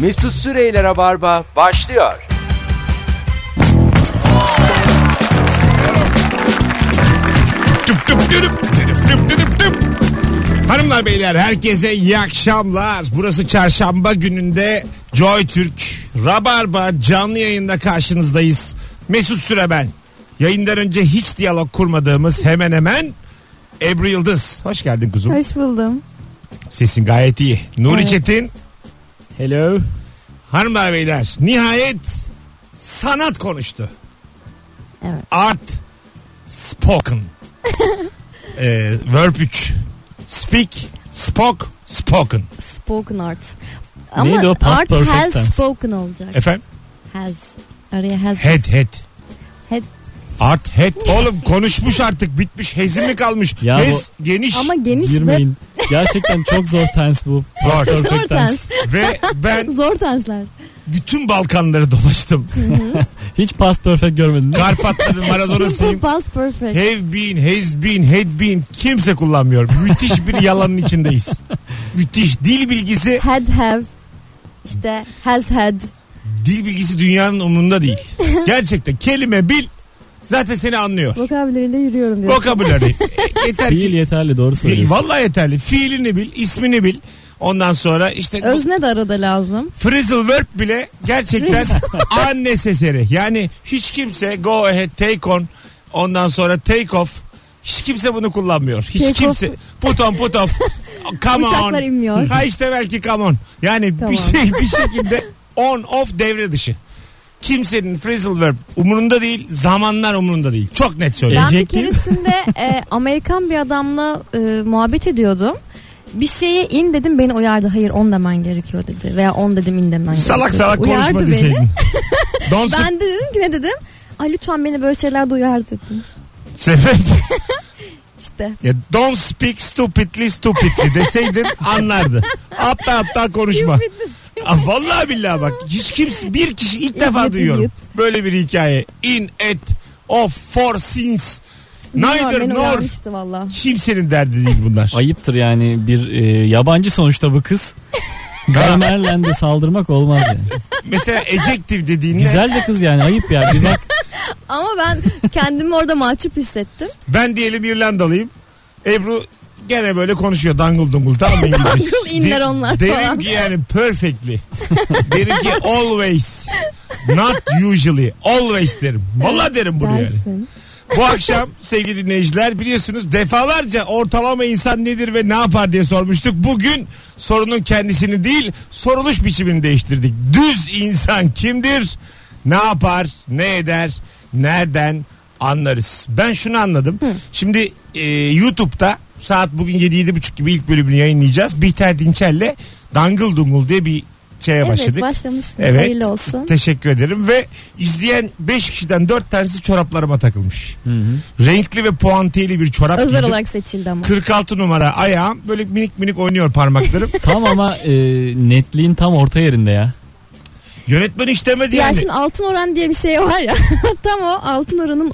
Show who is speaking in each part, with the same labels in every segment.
Speaker 1: Mesut Süreyler'e barba başlıyor.
Speaker 2: Tüp tüp tüdüp, tüdüp tüp tüdüp tüp. Hanımlar beyler herkese iyi akşamlar. Burası çarşamba gününde Joy Türk Rabarba canlı yayında karşınızdayız. Mesut Süre ben. Yayından önce hiç diyalog kurmadığımız hemen hemen Ebru Yıldız. Hoş geldin kuzum.
Speaker 3: Hoş buldum.
Speaker 2: Sesin gayet iyi. Nuri
Speaker 3: Evet.
Speaker 2: Çetin.
Speaker 4: Hello.
Speaker 2: Hanımlar beyler nihayet sanat konuştu.
Speaker 3: Evet.
Speaker 2: Art spoken. ee, verb 3. Speak, spoke, spoken.
Speaker 3: Spoken art. Ama
Speaker 4: Neydi o? Past
Speaker 3: art
Speaker 4: perfect
Speaker 3: has
Speaker 4: tense.
Speaker 3: spoken olacak.
Speaker 2: Efendim?
Speaker 3: Has. Araya has.
Speaker 2: Head, head.
Speaker 3: Head.
Speaker 2: Art head. Oğlum konuşmuş artık bitmiş. Hezi mi kalmış?
Speaker 4: Ya
Speaker 2: Hez
Speaker 4: bu-
Speaker 2: geniş.
Speaker 3: Ama geniş ve
Speaker 4: Girmeyin. Gerçekten çok zor tens bu.
Speaker 2: Zor.
Speaker 3: zor
Speaker 4: Perfect
Speaker 3: tens.
Speaker 4: tense.
Speaker 2: Ve ben
Speaker 3: Zor tensler.
Speaker 2: bütün Balkanları dolaştım.
Speaker 4: Hiç past perfect görmedin değil mi?
Speaker 2: Karpatların
Speaker 3: Simple
Speaker 2: Maradona'sıyım.
Speaker 3: past perfect.
Speaker 2: Have been, has been, had been kimse kullanmıyor. Müthiş bir yalanın içindeyiz. Müthiş. Dil bilgisi,
Speaker 3: Had have. İşte has had.
Speaker 2: dil bilgisi dünyanın umurunda değil. Gerçekten kelime bil zaten seni anlıyor.
Speaker 3: Vokabüleriyle yürüyorum diyor.
Speaker 2: Vokabüleri. Yeter
Speaker 4: Değil
Speaker 2: ki.
Speaker 4: yeterli doğru söylüyorsun.
Speaker 2: Vallahi yeterli. Fiilini bil, ismini bil. Ondan sonra işte bu
Speaker 3: Özne de arada lazım.
Speaker 2: frizzle verb bile gerçekten unnecessary. Yani hiç kimse go ahead, take on, ondan sonra take off. Hiç kimse bunu kullanmıyor. Hiç
Speaker 3: Take
Speaker 2: kimse.
Speaker 3: off.
Speaker 2: Put on, put off. Come on.
Speaker 3: Uçaklar inmiyor.
Speaker 2: Ha işte belki come on. Yani
Speaker 3: Tamam.
Speaker 2: bir şey bir şekilde on off devre dışı. Kimsenin frizzle verb umurunda değil, zamanlar umurunda değil. Çok net söylüyorum.
Speaker 3: Ben bir
Speaker 4: Ejective.
Speaker 3: keresinde e, Amerikan bir adamla e, muhabbet ediyordum. Bir şeye in dedim beni uyardı. Hayır on demen gerekiyor dedi. Veya on dedim in demen
Speaker 2: Salak
Speaker 3: gerekiyor.
Speaker 2: salak
Speaker 3: Uyardı
Speaker 2: konuşma
Speaker 4: şey
Speaker 3: beni.
Speaker 2: deseydin. Don't sık-
Speaker 3: Ben de dedim ki ne dedim? Ay lütfen beni böyle şeylerde uyar dedim.
Speaker 2: sebep.
Speaker 3: İşte.
Speaker 2: Ya don't speak stupidly stupidly deseydin anlardı. Aptal aptal konuşma. Aa, vallahi billahi bak hiç kimse bir kişi ilk defa
Speaker 3: Idiot,
Speaker 2: duyuyorum.
Speaker 3: idiot.
Speaker 2: Böyle bir hikaye. In at of for since
Speaker 3: Bilmiyorum,
Speaker 2: neither
Speaker 3: beni
Speaker 2: nor
Speaker 3: uyarmıştı valla.
Speaker 2: kimsenin derdi değil bunlar.
Speaker 4: Ayıptır yani bir e, yabancı sonuçta bu kız. Gamer'le de saldırmak olmaz yani.
Speaker 2: Mesela ejective dediğinde
Speaker 4: Güzel de kız yani ayıp ya. Bir bak
Speaker 3: Ama ben kendimi orada mahcup hissettim.
Speaker 2: ben diyelim İrlandalıyım. Ebru gene böyle konuşuyor dangıl dungul tamam mı İngilizce?
Speaker 3: Dangıl inler
Speaker 2: De-
Speaker 3: onlar
Speaker 2: Derim
Speaker 3: falan.
Speaker 2: ki yani perfectly. derim ki always. Not usually. Always derim. Valla derim bunu yani. E,
Speaker 3: Dersin.
Speaker 2: Bu akşam sevgili dinleyiciler biliyorsunuz defalarca ortalama insan nedir ve ne yapar diye sormuştuk. Bugün sorunun kendisini değil soruluş biçimini değiştirdik. Düz insan kimdir? Ne yapar? Ne eder? Nereden anlarız? Ben şunu anladım. Şimdi e, YouTube'da saat bugün 7-7.30 gibi ilk bölümünü yayınlayacağız. Bihter Dinçel'le Dangıl Dungul diye bir şeye
Speaker 3: Evet
Speaker 2: başladık.
Speaker 3: başlamışsın.
Speaker 2: Evet.
Speaker 3: Hayırlı olsun.
Speaker 2: Teşekkür ederim ve izleyen 5 kişiden 4 tanesi çoraplarıma takılmış. Renkli ve puantiyeli bir çorap
Speaker 3: Özel
Speaker 2: giydim.
Speaker 3: olarak seçildi ama.
Speaker 2: 46 numara ayağım böyle minik minik oynuyor parmaklarım.
Speaker 4: tam ama e, netliğin tam orta yerinde ya.
Speaker 2: Yönetmen istemedi
Speaker 3: Ya
Speaker 2: yani.
Speaker 3: şimdi altın oran diye bir şey var ya. tam o altın oranın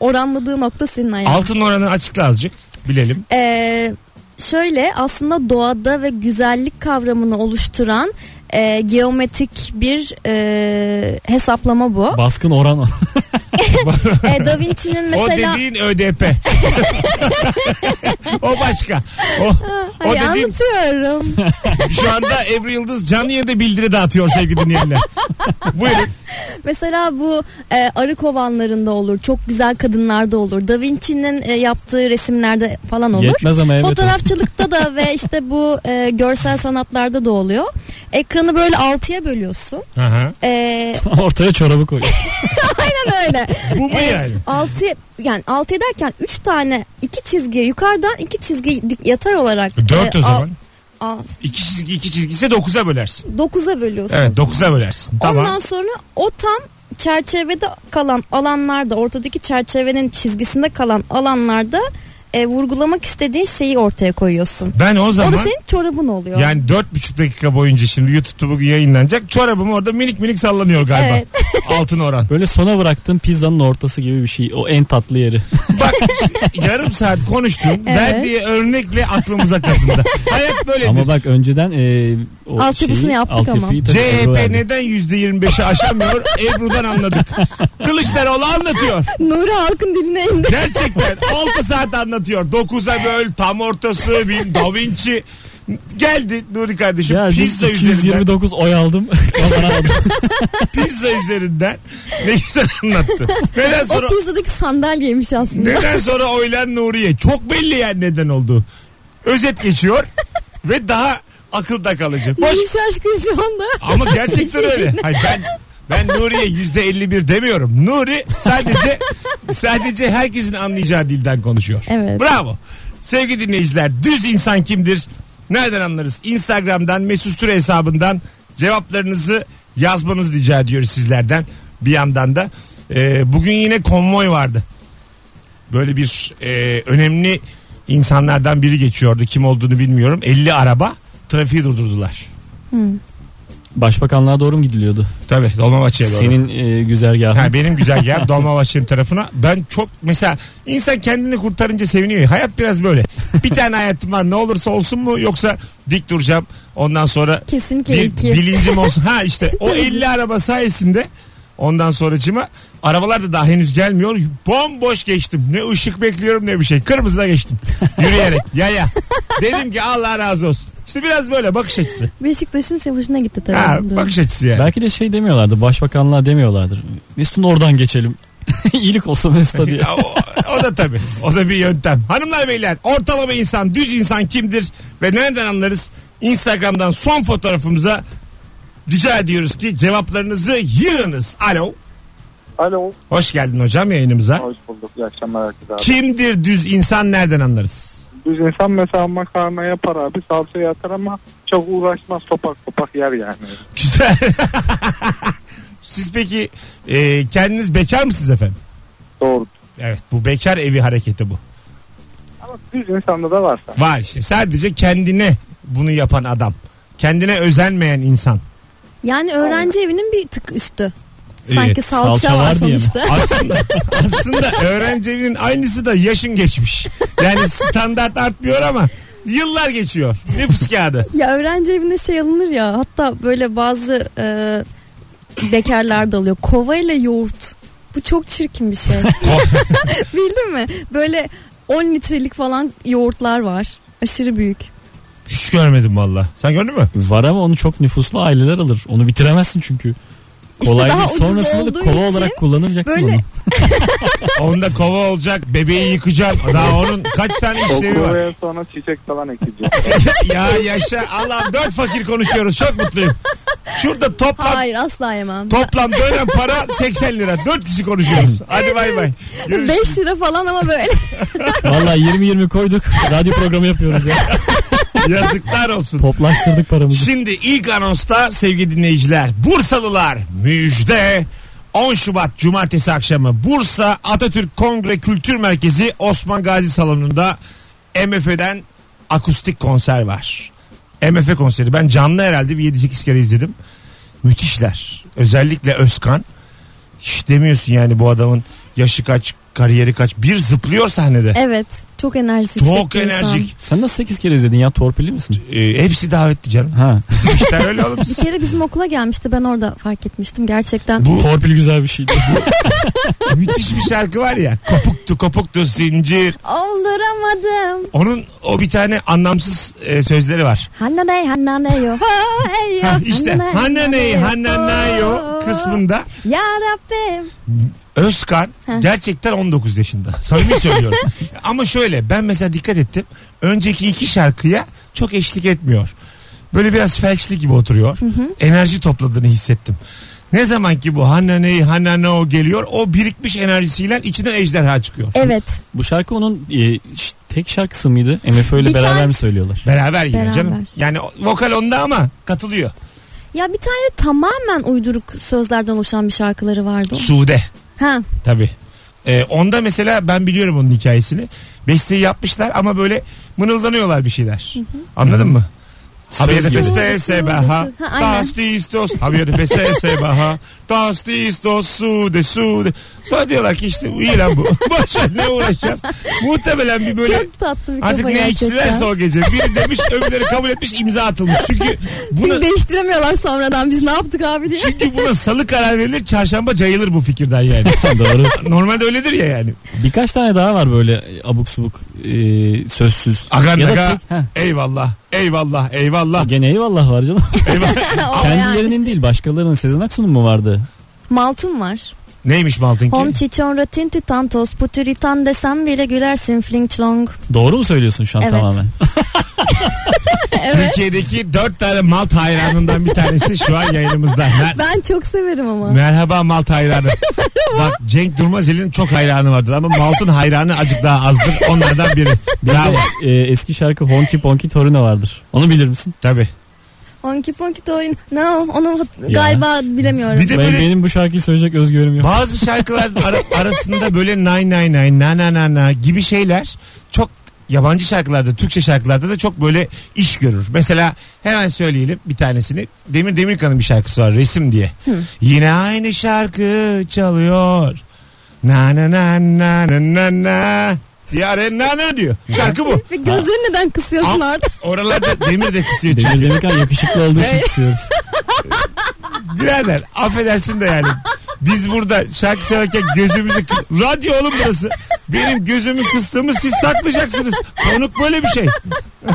Speaker 3: oranladığı nokta senin ayağın.
Speaker 2: Altın oranı açıkla azıcık bilelim.
Speaker 3: Ee, şöyle aslında doğada ve güzellik kavramını oluşturan e, geometrik bir e, hesaplama bu.
Speaker 4: Baskın oran.
Speaker 3: E, da Vinci'nin mesela
Speaker 2: O dediğin ÖDP. o başka. O, o
Speaker 3: Ay,
Speaker 2: dediğin
Speaker 3: anlatıyorum.
Speaker 2: şu anda Ebru Yıldız canlı yayında bildiri dağıtıyor sevgili dinleyenler. Buyurun.
Speaker 3: mesela bu e, arı kovanlarında olur, çok güzel kadınlarda olur. Da Vinci'nin e, yaptığı resimlerde falan olur.
Speaker 4: Yetmez ama evet.
Speaker 3: Fotoğrafçılıkta da ve işte bu e, görsel sanatlarda da oluyor. Ekranı böyle altıya bölüyorsun.
Speaker 2: Aha.
Speaker 3: E,
Speaker 4: Ortaya çorabı koyuyorsun.
Speaker 3: aynen öyle.
Speaker 2: Bu mu yani?
Speaker 3: Altı yani altı ederken üç tane iki çizgi yukarıdan iki çizgi dik- yatay olarak.
Speaker 2: 4
Speaker 3: e,
Speaker 2: o
Speaker 3: al-
Speaker 2: zaman.
Speaker 3: al-
Speaker 2: İki çizgi iki çizgi ise 9'a bölersin.
Speaker 3: dokuza bölüyorsun.
Speaker 2: Evet 9'a bölersin. Tamam.
Speaker 3: Ondan sonra o tam çerçevede kalan alanlarda ortadaki çerçevenin çizgisinde kalan alanlarda e, vurgulamak istediğin şeyi ortaya koyuyorsun.
Speaker 2: Ben o zaman
Speaker 3: O da senin çorabın oluyor.
Speaker 2: yani dört buçuk dakika boyunca şimdi YouTube'da bugün yayınlanacak. Çorabım orada minik minik sallanıyor galiba.
Speaker 3: Evet.
Speaker 2: Altın oran.
Speaker 4: Böyle sona bıraktığın pizzanın ortası gibi bir şey. O en tatlı yeri.
Speaker 2: Bak yarım saat konuştum.
Speaker 3: Evet.
Speaker 2: Verdiği örnekle aklımıza kazındı. Hayat böyledir.
Speaker 4: ama bak önceden e, o
Speaker 3: Altyapısını
Speaker 4: şeyi,
Speaker 3: yaptık
Speaker 4: altyapıyı
Speaker 3: ama.
Speaker 4: tabii Ebru
Speaker 2: CHP
Speaker 4: verdi.
Speaker 2: neden %25'i aşamıyor? Ebru'dan anladık. Kılıçdaroğlu anlatıyor.
Speaker 3: Nuri halkın diline indi.
Speaker 2: Gerçekten 6 saat anlatıyor. 9'a böl, tam ortası, bir Da Vinci. Geldi Nuri kardeşim
Speaker 4: Ya biz
Speaker 2: pizza üzerinden.
Speaker 4: 229 oy aldım. Kazanamadım.
Speaker 2: Pizza üzerinden. Ne güzel anlattı. Neden
Speaker 3: O
Speaker 2: sonra
Speaker 3: pizzadaki sandalyeymiş aslında.
Speaker 2: neden sonra oylan Nuriye? Çok belli yani neden oldu. Özet geçiyor ve daha akılda kalıcı. Boş
Speaker 3: Nuri şaşkın şu anda.
Speaker 2: Ama gerçekten öyle. Hayır, ben ben Nuri'ye yüzde 51 demiyorum. Nuri sadece sadece herkesin anlayacağı dilden konuşuyor.
Speaker 3: Evet.
Speaker 2: Bravo. Sevgili dinleyiciler düz insan kimdir? Nereden anlarız? Instagram'dan Mesut Süre hesabından cevaplarınızı yazmanızı rica ediyoruz sizlerden. Bir yandan da Ee, bugün yine konvoy vardı. Böyle bir e, önemli insanlardan biri geçiyordu. Kim olduğunu bilmiyorum. 50 araba trafiği durdurdular.
Speaker 4: Başbakanlığa doğru mu gidiliyordu?
Speaker 2: Tabii Dolmabahçe'ye Şey doğru.
Speaker 4: Senin e, güzergahın.
Speaker 2: Ha, benim güzel yer Dolmabahçe'nin tarafına. Ben çok mesela insan kendini kurtarınca seviniyor. ya. Hayat biraz böyle. Bir tane hayatım var ne olursa olsun mu yoksa dik duracağım. Ondan sonra
Speaker 3: Kesinlikle
Speaker 2: bir
Speaker 3: iki.
Speaker 2: bilincim olsun. Ha işte o
Speaker 3: Tabii
Speaker 2: 50
Speaker 3: canım.
Speaker 2: araba sayesinde ondan sonracıma arabalar da daha henüz gelmiyor. Bomboş geçtim. Ne ışık bekliyorum ne bir şey. Kırmızıda geçtim. Yürüyerek yaya. Dedim ki Allah razı olsun. İşte biraz böyle bakış açısı.
Speaker 3: Beşiktaş'ın çavuşuna gitti tabii.
Speaker 2: Ha,
Speaker 3: bu durum.
Speaker 2: bakış açısı yani.
Speaker 4: Belki de şey demiyorlardı. Başbakanlığa demiyorlardır. Mesut'un oradan geçelim. İyilik olsa Mesut'a diye.
Speaker 2: Ya o, o da tabii. O da bir yöntem. Hanımlar beyler ortalama insan, düz insan kimdir ve nereden anlarız? Instagram'dan son fotoğrafımıza rica ediyoruz ki cevaplarınızı yığınız. Alo.
Speaker 5: Alo.
Speaker 2: Hoş geldin hocam yayınımıza.
Speaker 5: Hoş bulduk. İyi akşamlar herkese abi.
Speaker 2: Kimdir düz insan nereden anlarız?
Speaker 5: Biz insan mesela makarna yapar abi. Salça yatar ama çok uğraşmaz. Topak topak yer yani.
Speaker 2: Güzel. Siz peki e, kendiniz bekar mısınız efendim?
Speaker 5: Doğru.
Speaker 2: Evet bu bekar evi hareketi bu.
Speaker 5: Ama düz insanda da varsa.
Speaker 2: Var işte sadece kendine bunu yapan adam. Kendine özenmeyen insan.
Speaker 3: Yani öğrenci evinin bir tık üstü.
Speaker 2: Evet,
Speaker 3: Sanki salça,
Speaker 4: salça
Speaker 3: var,
Speaker 4: var diye mi? şey,
Speaker 3: sonuçta.
Speaker 2: Aslında, aslında öğrenci evinin aynısı da yaşın geçmiş. Yani standart artmıyor ama yıllar geçiyor. Nüfus kağıdı.
Speaker 3: Ya öğrenci evinde şey alınır ya hatta böyle bazı e, bekarlar da alıyor. Kova ile yoğurt. Bu çok çirkin bir şey. Bildin mi? Böyle 10 litrelik falan yoğurtlar var. Aşırı büyük.
Speaker 2: Hiç görmedim valla. Sen gördün mü?
Speaker 4: Var ama onu çok nüfuslu aileler alır. Onu bitiremezsin çünkü.
Speaker 3: İşte
Speaker 4: Kolay
Speaker 3: daha
Speaker 4: değil.
Speaker 3: ucuz
Speaker 4: Sonrasında da
Speaker 3: olduğu
Speaker 4: kova
Speaker 3: için
Speaker 4: olarak kullanacaksın
Speaker 3: böyle-
Speaker 4: onu.
Speaker 2: Onda kova olacak, bebeği yıkacağım. Daha onun kaç tane işlevi var.
Speaker 5: Okulaya sonra çiçek falan ekeceğim.
Speaker 2: ya yaşa. Allah dört fakir konuşuyoruz. Çok mutluyum. Şurada toplam
Speaker 3: Hayır asla yemem.
Speaker 2: toplam dönen para 80 lira. Dört kişi konuşuyoruz. Hadi bay bay. Görüşürüz.
Speaker 3: 5 lira falan ama böyle.
Speaker 4: Valla 20-20 koyduk. Radyo programı yapıyoruz ya.
Speaker 2: Yazıklar olsun.
Speaker 4: Toplaştırdık paramızı.
Speaker 2: Şimdi ilk anonsta sevgili dinleyiciler Bursalılar müjde 10 Şubat Cumartesi akşamı Bursa Atatürk Kongre Kültür Merkezi Osman Gazi Salonu'nda MF'den akustik konser var. MF konseri ben canlı herhalde bir 7-8 kere izledim. Müthişler. Özellikle Özkan. Hiç demiyorsun yani bu adamın yaşı kaç, kariyeri kaç. Bir zıplıyor sahnede.
Speaker 3: Evet. Çok enerjik.
Speaker 2: Çok
Speaker 3: bir insan.
Speaker 2: enerjik.
Speaker 4: Sen nasıl 8 kere izledin ya? Torpilli misin?
Speaker 2: Ee, hepsi davetli canım.
Speaker 4: Ha.
Speaker 2: Bizim işler öyle oğlum.
Speaker 3: Bir kere bizim okula gelmişti. Ben orada fark etmiştim gerçekten.
Speaker 2: Bu
Speaker 4: Torpil güzel bir şeydi.
Speaker 2: Müthiş bir şarkı var ya. Kopuktu kopuktu zincir.
Speaker 3: Olduramadım.
Speaker 2: Onun o bir tane anlamsız e, sözleri var.
Speaker 3: Hananey hananayo.
Speaker 2: Ha, işte Hananey Hananayo
Speaker 3: Oh.
Speaker 2: kısmında
Speaker 3: Ya Rabbim.
Speaker 2: Özkan gerçekten 19 yaşında. Samimi söylüyorum. Ama şöyle ben mesela dikkat ettim. Önceki iki şarkıya çok eşlik etmiyor. Böyle biraz felçli gibi oturuyor. Enerji topladığını hissettim. Ne zaman ki bu Hananey Hananao geliyor o birikmiş enerjisiyle içinden ejderha çıkıyor.
Speaker 3: Evet.
Speaker 4: Bu şarkı onun e, ş- tek şarkısı mıydı? MFÖ ile
Speaker 3: Bir
Speaker 4: beraber
Speaker 3: tane-
Speaker 4: mi söylüyorlar?
Speaker 2: Beraber yine
Speaker 3: Beraber.
Speaker 2: canım. Yani o- vokal onda ama katılıyor.
Speaker 3: Ya bir tane tamamen uyduruk sözlerden oluşan bir şarkıları vardı.
Speaker 2: Sude
Speaker 3: Ha,
Speaker 2: tabi. Ee, onda mesela ben biliyorum onun hikayesini. Besteyi yapmışlar ama böyle mırıldanıyorlar bir şeyler. Anladın mı? Haberi feste sebaha,
Speaker 3: Ha, aynen.
Speaker 2: tas istos, haberi feste sebaha, tas istos, su de su de. Sonra diyorlar ki işte iyi lan bu. Boşver ne uğraşacağız? Muhtemelen bir böyle
Speaker 3: Çok tatlı bir kafa
Speaker 2: artık ne
Speaker 3: gerçekten.
Speaker 2: içtilerse o gece. Biri demiş öbürleri kabul etmiş imza atılmış. Çünkü bunu
Speaker 3: Çünkü değiştiremiyorlar sonradan biz ne yaptık abi diye.
Speaker 2: çünkü buna salı karar verilir çarşamba cayılır bu fikirden yani.
Speaker 4: Doğru.
Speaker 2: Normalde öyledir ya yani.
Speaker 4: Birkaç tane daha var böyle abuk subuk e, sözsüz.
Speaker 2: Agan
Speaker 4: Ya da
Speaker 2: naga.
Speaker 4: tek- heh.
Speaker 2: Eyvallah. Eyvallah. Eyvallah.
Speaker 4: Gene eyvallah var canım.
Speaker 2: eyvallah.
Speaker 3: O yani.
Speaker 4: Kendilerinin değil başkalarının Sezen Aksu'nun mu vardı?
Speaker 3: Maltın var.
Speaker 2: Neymiş Malt'ınki?
Speaker 3: Hom çiçon ratinti tantos puturitan desem bile gülersin fling chlong.
Speaker 4: Doğru mu söylüyorsun şu an
Speaker 3: Evet.
Speaker 4: tamamen?
Speaker 3: Evet.
Speaker 2: Türkiye'deki dört tane Malt hayranından bir tanesi şu an yayınımızda. Mer-
Speaker 3: Ben çok severim ama.
Speaker 2: Merhaba Malt hayranı. Bak Cenk Durmazeli'nin çok hayranı vardır ama Malt'ın hayranı acık daha azdır. Onlardan biri.
Speaker 4: Bir de,
Speaker 2: Bravo.
Speaker 4: e, eski şarkı Honky Ponky Torino vardır. Onu bilir misin?
Speaker 2: Tabii.
Speaker 3: Honky ponky torin. No onu hat-
Speaker 4: Ya.
Speaker 3: galiba bilemiyorum.
Speaker 2: Bir de
Speaker 4: Ben,
Speaker 2: böyle
Speaker 4: benim bu şarkıyı söyleyecek özgüvenim yok.
Speaker 2: bazı şarkılar ara- arasında böyle nine nine nine na na na na gibi şeyler çok yabancı şarkılarda Türkçe şarkılarda da çok böyle iş görür. Mesela hemen söyleyelim bir tanesini. Demir Demirkan'ın bir şarkısı var resim diye. Yine aynı şarkı çalıyor. Na na na na na na na. Diyare na na diyor. Şarkı bu.
Speaker 3: Ve gözlerini neden kısıyorsun
Speaker 2: Al.
Speaker 3: orada?
Speaker 2: Oralarda demir de kısıyor. çünkü.
Speaker 4: Demir Demirkan yakışıklı olduğu için
Speaker 3: Evet.
Speaker 4: kısıyoruz.
Speaker 2: Birader affedersin de yani. Biz burada şarkı söylerken gözümüzü kı- Radyo oğlum burası. Benim gözümü kıstığımı siz saklayacaksınız. Konuk böyle bir şey.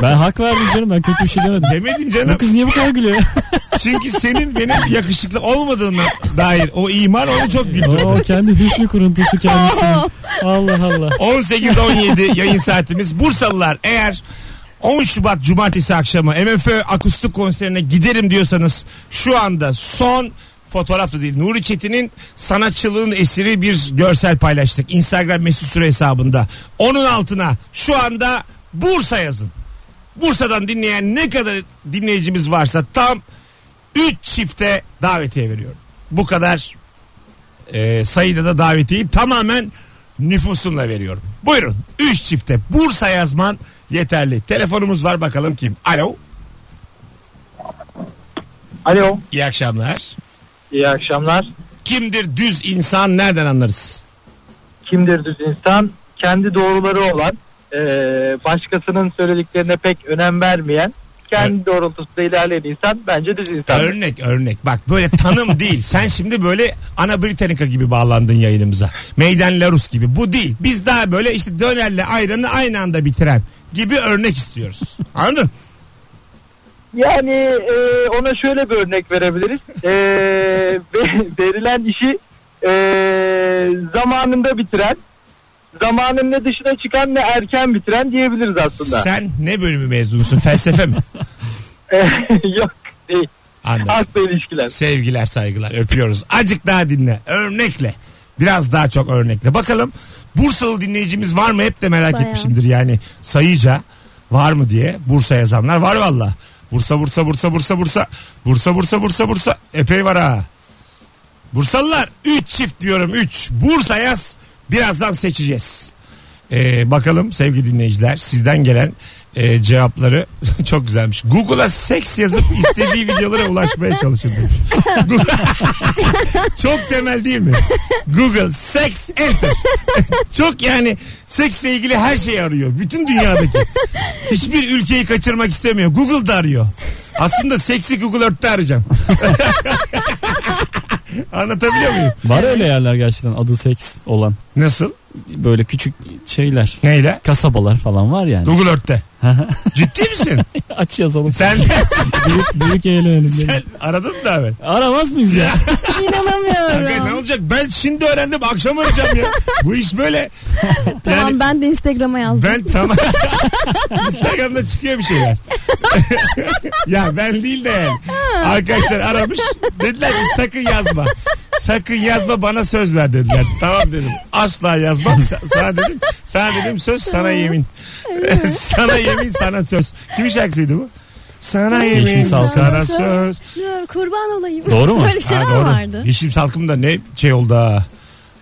Speaker 4: Ben hak verdim canım ben kötü bir şey demedim.
Speaker 2: Demedin
Speaker 4: Bu
Speaker 2: canım.
Speaker 4: kız niye bu kadar gülüyor?
Speaker 2: Çünkü senin benim yakışıklı olmadığına dair o iman onu çok
Speaker 4: O
Speaker 2: güldürdü.
Speaker 4: kendi hüsnü kuruntusu kendisi.
Speaker 3: Aa.
Speaker 4: Allah Allah.
Speaker 2: 18-17 yayın saatimiz. Bursalılar eğer 10 Şubat Cumartesi akşamı MFÖ akustik konserine giderim diyorsanız şu anda son fotoğraf da değil. Nuri Çetin'in sanatçılığın esiri bir görsel paylaştık. Instagram mesut süre hesabında. Onun altına şu anda Bursa yazın. Bursa'dan dinleyen ne kadar dinleyicimiz varsa tam 3 çifte davetiye veriyorum. Bu kadar e, sayıda da davetiyi tamamen nüfusumla veriyorum. Buyurun 3 çifte Bursa yazman yeterli. Telefonumuz var bakalım kim? Alo.
Speaker 5: Alo.
Speaker 2: İyi akşamlar.
Speaker 5: İyi akşamlar.
Speaker 2: Kimdir düz insan nereden anlarız?
Speaker 5: Kimdir düz insan? Kendi doğruları olan, e, başkasının söylediklerine pek önem vermeyen, kendi doğrultusunda ilerleyen insan bence düz insan.
Speaker 2: Örnek örnek bak böyle tanım değil. Sen şimdi böyle Ana Britannica gibi bağlandın yayınımıza. Meydan Larus gibi bu değil. Biz daha böyle işte dönerle ayranı aynı anda bitiren gibi örnek istiyoruz. Anladın?
Speaker 5: Yani e, ona şöyle bir örnek verebiliriz. E, ve- verilen işi e, zamanında bitiren, zamanın ne dışına çıkan ne erken bitiren diyebiliriz aslında. E,
Speaker 2: Sen ne bölümü mezunusun? Felsefe mi?
Speaker 5: Yok değil.
Speaker 2: Anladım.
Speaker 5: Halkla ilişkiler.
Speaker 2: Sevgiler saygılar öpüyoruz. Acık daha dinle örnekle. Biraz daha çok örnekle. Bakalım Bursalı dinleyicimiz var mı? Hep de merak
Speaker 3: Bayağı.
Speaker 2: etmişimdir yani sayıca var mı diye. Bursa yazanlar var valla. Bursa Bursa Bursa Bursa Bursa Bursa Bursa Bursa Bursa epey var ha. Bursalılar 3 çift diyorum 3. Bursa yaz birazdan seçeceğiz. Ee, bakalım sevgili dinleyiciler sizden gelen e, cevapları çok güzelmiş. Google'a seks yazıp istediği videolara ulaşmaya çalışın demiş. Google- çok temel değil mi? Google seks enter. çok yani seksle ilgili her şeyi arıyor. Bütün dünyadaki. Hiçbir ülkeyi kaçırmak istemiyor. Google'da arıyor. Aslında seksi Google Earth'te arayacağım. Anlatabiliyor muyum?
Speaker 4: Var öyle yerler gerçekten adı seks olan.
Speaker 2: Nasıl?
Speaker 4: Böyle küçük şeyler.
Speaker 2: Neyle?
Speaker 4: Kasabalar falan var yani.
Speaker 2: Google Earth'te. Ciddi misin?
Speaker 4: Aç yazalım.
Speaker 2: Sen
Speaker 4: büyük, büyük eğlenelim.
Speaker 2: sen aradın mı daha evvel?
Speaker 4: Aramaz mıyız ya?
Speaker 2: Kanka ne
Speaker 3: İnanamıyorum.
Speaker 2: olacak? Ben şimdi öğrendim. Akşam arayacağım ya. Bu iş böyle.
Speaker 3: Tamam
Speaker 2: Yani
Speaker 3: ben de Instagram'a yazdım.
Speaker 2: ben tamam. Instagram'da çıkıyor bir şeyler. ya ben değil de yani. Arkadaşlar aramış. Dediler ki sakın yazma. Sakın yazma bana söz ver dediler. Tamam dedim. Asla yazmam. Sa- Sana dedim. Sana dedim söz sana yemin. sana yemin sana söz. Kimin şarkısıydı bu? Sana
Speaker 4: Yeşim
Speaker 2: yemin
Speaker 4: Salkım.
Speaker 2: sana söz. şey
Speaker 3: Ya, Kurban olayım.
Speaker 4: Doğru mu?
Speaker 3: Böyle şeyler
Speaker 2: Ha, doğru.
Speaker 3: vardı.
Speaker 2: Yeşim Salkım da ne şey oldu ha.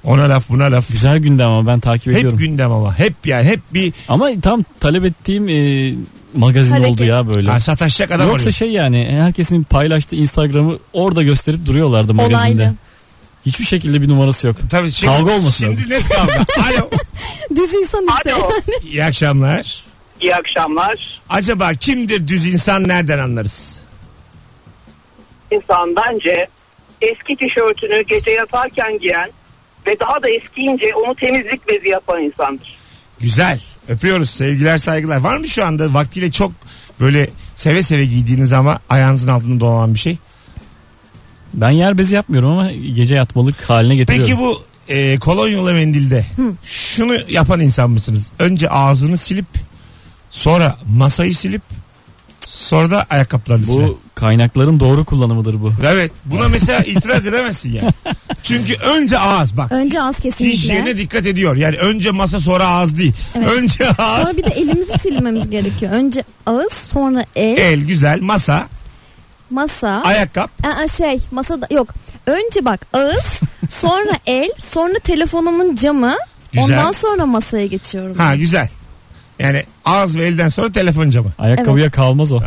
Speaker 2: Ona laf buna laf.
Speaker 4: Güzel gündem ama ben takip ediyorum.
Speaker 2: Hep gündem ama. Hep yani hep bir
Speaker 4: Ama tam talep ettiğim e, magazin
Speaker 3: Hareket.
Speaker 4: oldu ya böyle.
Speaker 2: ha, sataşacak adam
Speaker 4: Yoksa
Speaker 2: oluyor.
Speaker 4: şey yani herkesin paylaştığı Instagram'ı orada gösterip duruyorlardı magazinde.
Speaker 3: Olaylı.
Speaker 4: Hiçbir şekilde bir numarası yok.
Speaker 2: Tabii şimdi,
Speaker 4: Kavga olması
Speaker 2: Şimdi net kavga. Alo.
Speaker 3: Düz insan işte.
Speaker 6: Alo.
Speaker 2: İyi akşamlar.
Speaker 6: İyi akşamlar.
Speaker 2: Acaba kimdir düz insan nereden anlarız?
Speaker 6: İnsan bence eski tişörtünü gece yatarken giyen ve daha da eskiyince onu temizlik bezi yapan insandır.
Speaker 2: Güzel. Öpüyoruz. Sevgiler saygılar. Var mı şu anda vaktiyle çok böyle seve seve giydiğiniz ama ayağınızın altında dolanan bir şey?
Speaker 4: Ben yer bezi yapmıyorum ama gece yatmalık haline getiriyorum.
Speaker 2: Peki bu e, kolonyalı mendilde şunu yapan insan mısınız? Önce ağzını silip sonra masayı silip sonra da ayakkabılarını silip.
Speaker 4: Bu kaynakların doğru kullanımıdır bu.
Speaker 2: Evet. Buna mesela itiraz edemezsin yani. Çünkü önce ağız bak.
Speaker 3: Önce az kesinlikle.
Speaker 2: Hijyene dikkat ediyor. Yani önce masa sonra ağız değil. Önce
Speaker 3: Sonra
Speaker 2: ağız.
Speaker 3: bir de elimizi silmemiz gerekiyor. Önce ağız sonra el,
Speaker 2: El güzel masa,
Speaker 3: masa.
Speaker 2: ayakkabı.
Speaker 3: Aa, şey masada yok. Önce bak ağız sonra el sonra telefonumun camı.
Speaker 2: Güzel.
Speaker 3: Ondan sonra masaya geçiyorum.
Speaker 2: Ha güzel. Yani ağız ve elden sonra telefon camı.
Speaker 4: Ayakkabıya kalmaz o.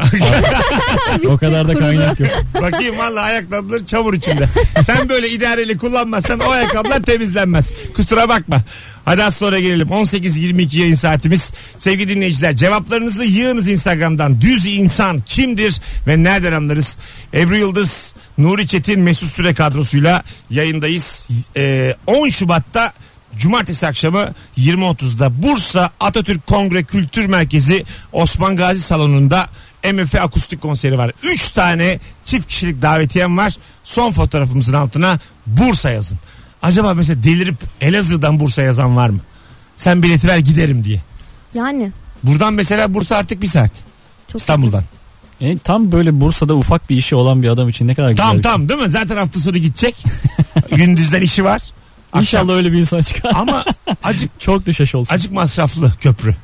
Speaker 4: o kadar da kaynak yok.
Speaker 2: Bakayım valla ayakkabıları çamur içinde. Sen böyle idareli kullanmazsan o ayakkabılar temizlenmez. Kusura bakma. Hadi az sonra gelelim. 18.22 yayın saatimiz. Sevgili dinleyiciler cevaplarınızı yığınız Instagram'dan. Düz insan kimdir ve nereden anlarız? Ebru Yıldız, Nuri Çetin, Mesut Süre kadrosuyla yayındayız. Ee, 10 Şubat'ta Cumartesi akşamı 20.30'da Bursa Atatürk Kongre Kültür Merkezi Osman Gazi Salonu'nda MF akustik konseri var. 3 tane çift kişilik davetiyem var. Son fotoğrafımızın altına Bursa yazın. Acaba mesela delirip Elazığ'dan Bursa yazan var mı? Sen bileti ver giderim diye.
Speaker 3: Yani
Speaker 2: Buradan mesela Bursa artık bir saat.
Speaker 3: çok
Speaker 2: İstanbul'dan.
Speaker 4: E, tam böyle Bursa'da ufak bir işi olan bir adam için ne kadar güzel.
Speaker 2: Tamam
Speaker 4: bir şey.
Speaker 2: tamam değil mi? Zaten hafta sonu gidecek. Gündüzden işi var. Akşam-
Speaker 4: şey. İnşallah öyle bir insan çıkar.
Speaker 2: Ama acık
Speaker 4: Çok düşeş olsun.
Speaker 2: acık masraflı köprü.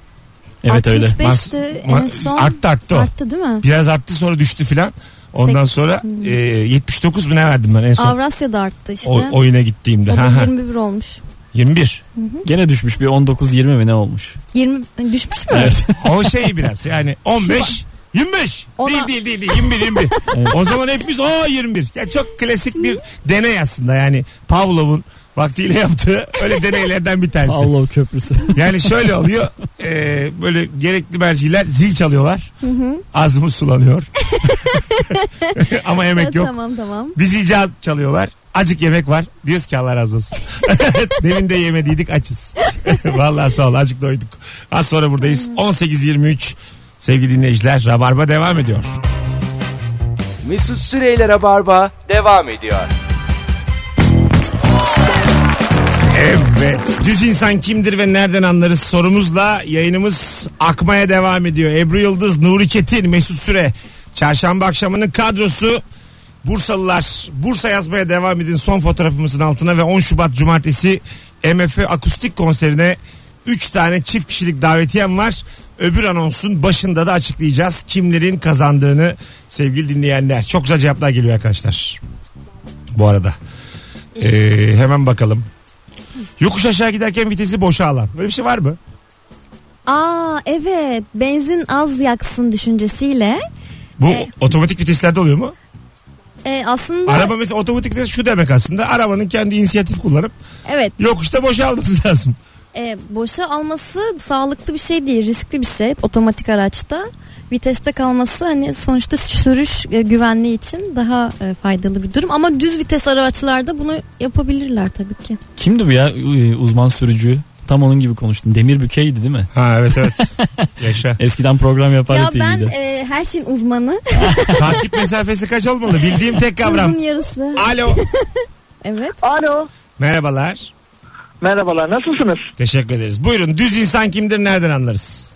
Speaker 4: evet öyle.
Speaker 3: 65'ti en
Speaker 2: Ma-
Speaker 3: son.
Speaker 2: Arttı arttı o.
Speaker 3: Arttı değil mi?
Speaker 2: Biraz arttı sonra düştü filan. Ondan sonra
Speaker 3: Hmm.
Speaker 2: e, 79 bine verdim ben en son
Speaker 3: Avrasya'da arttı işte.
Speaker 2: o,
Speaker 3: o,
Speaker 2: oyuna gittiğimde.
Speaker 3: da
Speaker 2: Ha, ha.
Speaker 3: 21 olmuş.
Speaker 2: 21.
Speaker 4: Gene düşmüş bir 19-20 mi ne olmuş?
Speaker 3: 20 düşmüş mü?
Speaker 4: Evet.
Speaker 2: o şey biraz yani 15. 25.
Speaker 3: Ona-
Speaker 2: Değil değil değil. değil. 21 21. O zaman hepimiz o 21. Ya çok klasik bir deney aslında yani Pavlov'un vaktiyle yaptığı öyle deneylerden bir tanesi.
Speaker 4: Allah köprüsü.
Speaker 2: Yani şöyle oluyor. e, böyle gerekli merciler zil çalıyorlar. Ağzımız sulanıyor. Ama yemek yok.
Speaker 3: Ee, Tamam tamam.
Speaker 2: Biz icat çalıyorlar. Acık yemek var. Diyoruz ki Allah razı olsun. Demin de yemediydik açız. Vallahi sağ ol acık doyduk. Az sonra buradayız. 18.23 sevgili dinleyiciler. Rabarba devam ediyor.
Speaker 1: Mesut Süreyler'e barba devam ediyor.
Speaker 2: Evet. Düz insan kimdir ve nereden anlarız sorumuzla yayınımız akmaya devam ediyor. Ebru Yıldız, Nuri Çetin, Mesut Süre. Çarşamba akşamının kadrosu Bursalılar. Bursa yazmaya devam edin son fotoğrafımızın altına ve 10 Şubat Cumartesi MF akustik konserine 3 tane çift kişilik davetiyem var. Öbür anonsun başında da açıklayacağız kimlerin kazandığını sevgili dinleyenler. Çok güzel cevaplar geliyor arkadaşlar. Bu arada. Ee, hemen bakalım. Yokuş aşağı giderken vitesi boşa alan. Böyle bir şey var mı?
Speaker 3: Aa evet benzin az yaksın düşüncesiyle
Speaker 2: Bu
Speaker 3: E-
Speaker 2: otomatik viteslerde oluyor mu?
Speaker 3: e, aslında
Speaker 2: Araba mesela otomatik vites şu demek aslında. Arabanın kendi inisiyatif kullanıp
Speaker 3: evet
Speaker 2: yokuşta boşa alması lazım.
Speaker 3: E, boşa alması sağlıklı bir şey değil, riskli bir şey. Otomatik araçta viteste kalması hani sonuçta sürüş e, güvenliği için daha e, faydalı bir durum. Ama düz vites araçlarda bunu yapabilirler tabii ki.
Speaker 4: Kimdi bu ya Ee, uzman sürücü? Tam onun gibi konuştun. Demir Bükey'di değil mi?
Speaker 2: Ha evet evet. Yaşa.
Speaker 4: Eskiden program yapar
Speaker 3: ya ben
Speaker 4: iyiydi.
Speaker 3: e, her şeyin uzmanı.
Speaker 2: Takip mesafesi kaç olmalı? Bildiğim tek kavram.
Speaker 3: Uzun yarısı.
Speaker 2: Alo.
Speaker 3: Evet.
Speaker 5: Alo.
Speaker 2: Merhabalar.
Speaker 5: Merhabalar nasılsınız?
Speaker 2: Teşekkür ederiz. Buyurun düz insan kimdir nereden anlarız?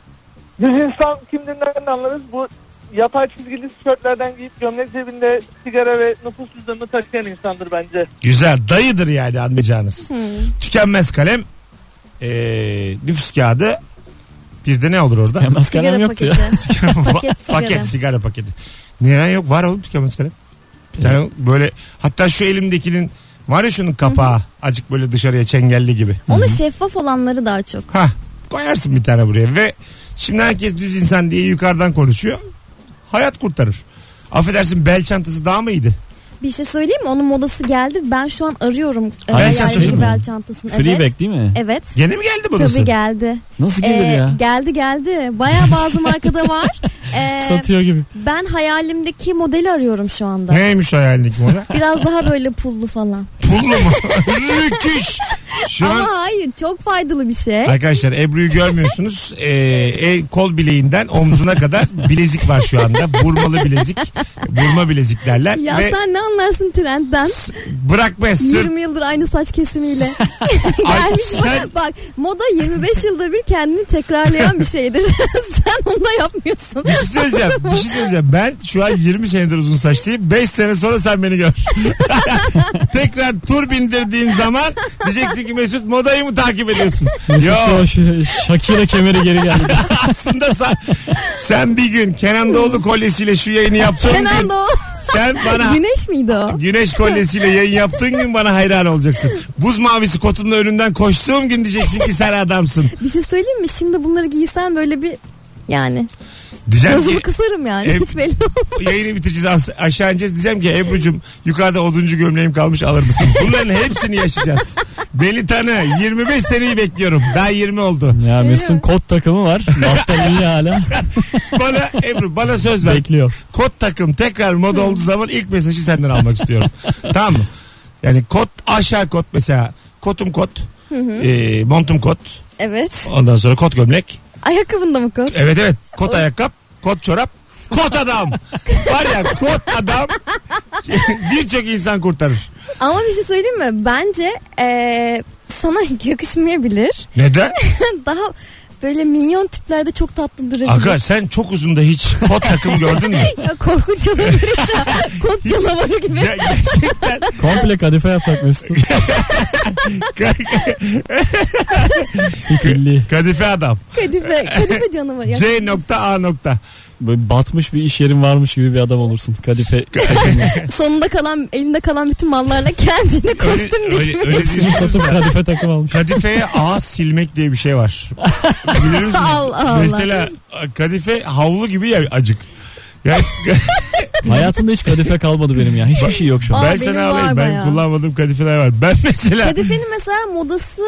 Speaker 5: Düz insan kimdir nereden anlarız? Bu yapay çizgili tişörtlerden giyip gömlek cebinde sigara ve nüfus cüzdanını taşıyan insandır bence.
Speaker 2: Güzel dayıdır yani anlayacağınız.
Speaker 3: Hmm.
Speaker 2: Tükenmez kalem. Ee, nüfus kağıdı. Bir de ne olur orada?
Speaker 4: Tükenmez kalem
Speaker 3: Sigara
Speaker 4: yoktu ya.
Speaker 3: paketi.
Speaker 2: paket, sigara.
Speaker 3: Paket sigara.
Speaker 2: paket sigara paketi. Neden yok? Var oğlum tükenmez kalem. Bir tane böyle hatta şu elimdekinin Var ya şunun kapağı. Acık böyle dışarıya çengelli gibi.
Speaker 3: Onu şeffaf olanları daha çok.
Speaker 2: Ha koyarsın bir tane buraya ve şimdi herkes düz insan diye yukarıdan konuşuyor. Hayat kurtarır. Affedersin bel çantası daha mı iyiydi?
Speaker 3: Bir şey söyleyeyim mi? Onun modası geldi. Ben şu an arıyorum e,
Speaker 4: Bel
Speaker 3: yaylı
Speaker 2: çantasını mı?
Speaker 3: bel çantasını.
Speaker 4: Freeback
Speaker 3: evet. E,
Speaker 4: değil mi?
Speaker 3: Evet.
Speaker 2: Gene mi geldi burası?
Speaker 3: Tabii geldi.
Speaker 4: Nasıl gelir
Speaker 3: Ee,
Speaker 4: ya?
Speaker 3: Geldi geldi. Baya bazı markada var. Ee,
Speaker 4: Satıyor gibi.
Speaker 3: ben hayalimdeki modeli arıyorum şu anda.
Speaker 2: Neymiş hayalindeki moda?
Speaker 3: Biraz daha böyle pullu falan.
Speaker 2: Pullu mu? Rüküş. Şu an
Speaker 3: Ama hayır çok faydalı bir şey.
Speaker 2: Arkadaşlar Ebru'yu görmüyorsunuz. Ee, el kol bileğinden omzuna kadar bilezik var şu anda. Vurmalı bilezik. Vurma bilezik derler.
Speaker 3: Ya
Speaker 2: Ve
Speaker 3: sen ne anlarsın trendden?
Speaker 2: s- bırakma sır.
Speaker 3: 20 yıldır aynı saç kesimiyle.
Speaker 2: Ay,
Speaker 3: Gelmiş
Speaker 2: sen-
Speaker 3: bak, bak moda 25 yılda bir kendini tekrarlayan bir şeydir. sen onu da yapmıyorsun.
Speaker 2: Bir şey söyleyeceğim. Bir şey söyleyeceğim. Ben şu an 20 senedir uzun saçlıyım. 5 sene sonra sen beni gör. Tekrar tur bindirdiğim zaman diyeceksin ki Mesut modayı mı takip ediyorsun?
Speaker 4: Mesut
Speaker 2: Yo
Speaker 4: Yavaş, e, Shakira kemeri geri geldi.
Speaker 2: aslında sen, sen bir gün Kenan Doğulu kolyesiyle şu yayını yaptığın
Speaker 3: Kenan
Speaker 2: gün
Speaker 3: Doğulu.
Speaker 2: sen bana
Speaker 3: Güneş miydi o?
Speaker 2: Güneş kolyesiyle yayın yaptığın gün bana hayran olacaksın. Buz mavisi kotumla önünden koştuğum gün diyeceksin ki sen adamsın.
Speaker 3: Bir şey söyleyeyim mi? Şimdi bunları giysen böyle bir yani
Speaker 2: Diyeceğim ki
Speaker 3: gözümü kısarım yani.
Speaker 2: Ev-
Speaker 3: Hiç belli olmaz.
Speaker 2: yayını bitireceğiz as- aşağı ineceğiz. Diyeceğim ki Ebru'cum yukarıda oduncu gömleğim kalmış alır mısın? Bunların hepsini yaşayacağız. Beni tanı 25 seneyi bekliyorum. Daha 20 oldu.
Speaker 4: Ya Mesut'un kot takımı var. Laftan iyi hala.
Speaker 2: Bana Ebru bana söz ver.
Speaker 4: Bekliyor.
Speaker 2: Kot takım tekrar moda olduğu zaman ilk mesajı senden almak istiyorum. tamam mı? Yani kot aşağı kot mesela. Kotum kot. e, montum kot.
Speaker 3: Evet.
Speaker 2: Ondan sonra kot gömlek.
Speaker 3: Ayakkabında mı kız?
Speaker 2: Evet evet. Kot ayakkabı, kot çorap, kot adam. Var ya kot adam birçok insan kurtarır.
Speaker 3: Ama bir şey söyleyeyim mi? Bence eee, sana yakışmayabilir.
Speaker 2: Neden?
Speaker 3: Daha böyle minyon tiplerde çok tatlı durabilir.
Speaker 2: Aga sen çok uzunda hiç kot takım gördün mü?
Speaker 3: Ya korkunç olabilir ya. Kot canavarı gibi.
Speaker 2: Ya, gerçekten
Speaker 4: Komple kadife yapsak Mesut'un. Fikirli.
Speaker 2: kadife adam.
Speaker 3: Kadife, kadife canavarı. Ya,
Speaker 2: C nokta A nokta.
Speaker 4: Böyle batmış bir iş yerin varmış gibi bir adam olursun. Kadife takımı.
Speaker 3: sonunda kalan, elinde kalan bütün mallarla kendine kostüm
Speaker 2: öyle,
Speaker 3: dikmiş.
Speaker 2: öyle
Speaker 4: Hepsini
Speaker 2: değil.
Speaker 4: satıp kadife takım almış.
Speaker 2: Kadifeye ağız silmek diye bir şey var. Bilir misiniz?
Speaker 3: Allah Allah.
Speaker 2: Mesela kadife havlu gibi ya acık. Yani,
Speaker 4: Hayatımda hiç kadife kalmadı benim ya. Hiçbir şey yok şu an.
Speaker 3: Aa,
Speaker 2: ben
Speaker 3: benim
Speaker 2: sana
Speaker 3: var
Speaker 2: alayım. Ben
Speaker 3: bayağı.
Speaker 2: kullanmadığım kadifeler var. Ben mesela
Speaker 3: Kadifenin mesela modası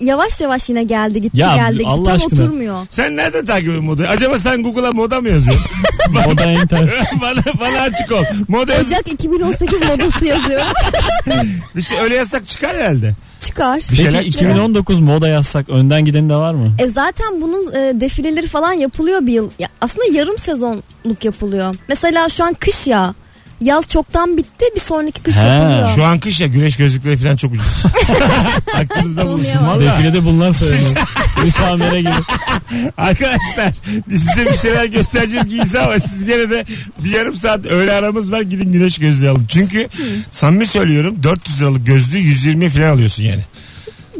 Speaker 3: yavaş yavaş yine geldi gitti
Speaker 4: Ya,
Speaker 3: geldi gitti
Speaker 4: Allah
Speaker 3: tam
Speaker 4: aşkına.
Speaker 3: oturmuyor.
Speaker 2: Sen nereden takip ediyorsun modayı? Acaba sen Google'a moda mı yazıyorsun?
Speaker 4: Moda enter.
Speaker 2: bana, bana açık ol. Moda yaz-
Speaker 3: Ocak 2018 modası yazıyor.
Speaker 2: bir şey öyle yazsak çıkar herhalde.
Speaker 3: Çıkar.
Speaker 2: Bir
Speaker 4: Peki
Speaker 2: şeyler çıkar.
Speaker 4: 2019 moda yazsak önden gideni de var mı?
Speaker 3: E zaten bunun e, defileleri falan yapılıyor bir yıl. Ya, aslında yarım sezonluk yapılıyor. Mesela şu an kış ya. Yaz çoktan bitti bir sonraki kış
Speaker 4: He.
Speaker 3: yapılıyor.
Speaker 2: Şu an kış ya güneş gözlükleri falan çok ucuz. Aklınızda bulunsun. Valla
Speaker 4: Defilede bunlar söyleniyor. Müsamere gibi.
Speaker 2: arkadaşlar biz size bir şeyler göstereceğiz giysi ama siz gene de bir yarım saat öğle aramız var gidin güneş gözlüğü alın. Çünkü samimi söylüyorum 400 liralık gözlüğü 120 falan alıyorsun yani.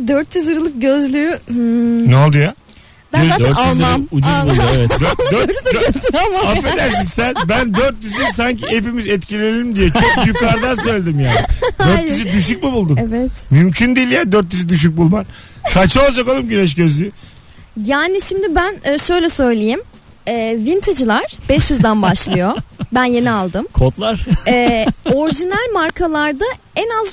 Speaker 3: 400 liralık gözlüğü hmm,
Speaker 2: Ne oldu ya?
Speaker 3: ben
Speaker 2: Yüz-
Speaker 3: zaten
Speaker 4: 400 lira
Speaker 3: almam.
Speaker 4: ucuz
Speaker 3: Almam.
Speaker 4: buldu evet.
Speaker 2: Dört- dört- dört-
Speaker 3: Ama
Speaker 2: Affedersin sen ben 400'ü sanki hepimiz etkilenelim diye çok yukarıdan söyledim yani.
Speaker 3: Hayır.
Speaker 2: 400'ü düşük mü buldun?
Speaker 3: Evet.
Speaker 2: Mümkün değil ya 400'ü düşük bulman. Kaça olacak oğlum güneş gözlüğü?
Speaker 3: Yani şimdi ben e, şöyle söyleyeyim. E, vintage'lar 500'den başlıyor. Ben yeni aldım.
Speaker 4: Kodlar.
Speaker 3: E, orijinal markalarda en az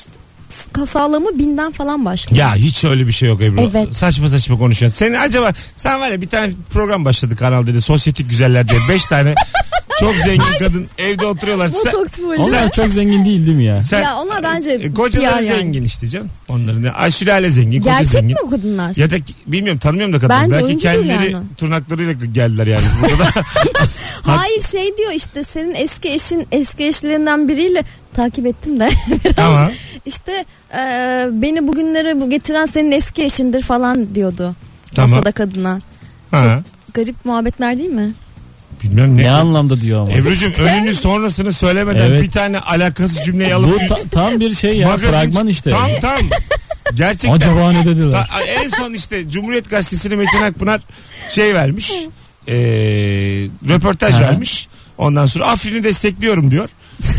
Speaker 3: sağlamı 1000'den falan başlıyor.
Speaker 2: Ya hiç öyle bir şey yok Ebru.
Speaker 3: Evet.
Speaker 2: Saçma saçma konuşuyorsun. Senin acaba sen var ya bir tane program başladı kanal dedi. Sosyetik güzeller diye. 5 tane çok zengin kadın evde oturuyorlar. Sen,
Speaker 3: Botoks bu işte.
Speaker 4: Onlar çok zengin değil değil mi ya?
Speaker 2: sen-
Speaker 3: Ya onlar bence
Speaker 2: e, kocaları
Speaker 3: PR yani.
Speaker 2: zengin işte canım. Onların da ay sülale zengin, koca
Speaker 3: Gerçek
Speaker 2: zengin.
Speaker 3: mi o kadınlar?
Speaker 2: Ya da ki- bilmiyorum tanımıyorum da kadın.
Speaker 3: Bence
Speaker 2: Belki
Speaker 3: oyuncudur
Speaker 2: kendileri
Speaker 3: yani.
Speaker 2: tırnaklarıyla geldiler yani. Burada da
Speaker 3: Hayır şey diyor işte senin eski eşin eski eşlerinden biriyle takip ettim de
Speaker 2: tamam.
Speaker 3: işte e, beni bugünlere bu getiren senin eski eşindir falan diyordu.
Speaker 2: Tamam.
Speaker 3: Masada kadına.
Speaker 2: Ha.
Speaker 3: Garip muhabbetler değil mi?
Speaker 2: Bilmem ne.
Speaker 4: Ne anlamda diyor ama.
Speaker 2: Ebru'cum önünü sonrasını söylemeden
Speaker 4: Evet.
Speaker 2: bir tane alakasız cümleyi alıp
Speaker 4: Bu ta- tam bir şey ya
Speaker 2: Magazin-
Speaker 4: fragman işte.
Speaker 2: Tam tam. Gerçekten.
Speaker 4: Acaba ne dediler?
Speaker 2: Ta- en son işte Cumhuriyet Gazetesi'ne Metin Akpınar şey vermiş. Eee röportaj
Speaker 4: Aha.
Speaker 2: vermiş. Ondan sonra Afrin'i destekliyorum diyor.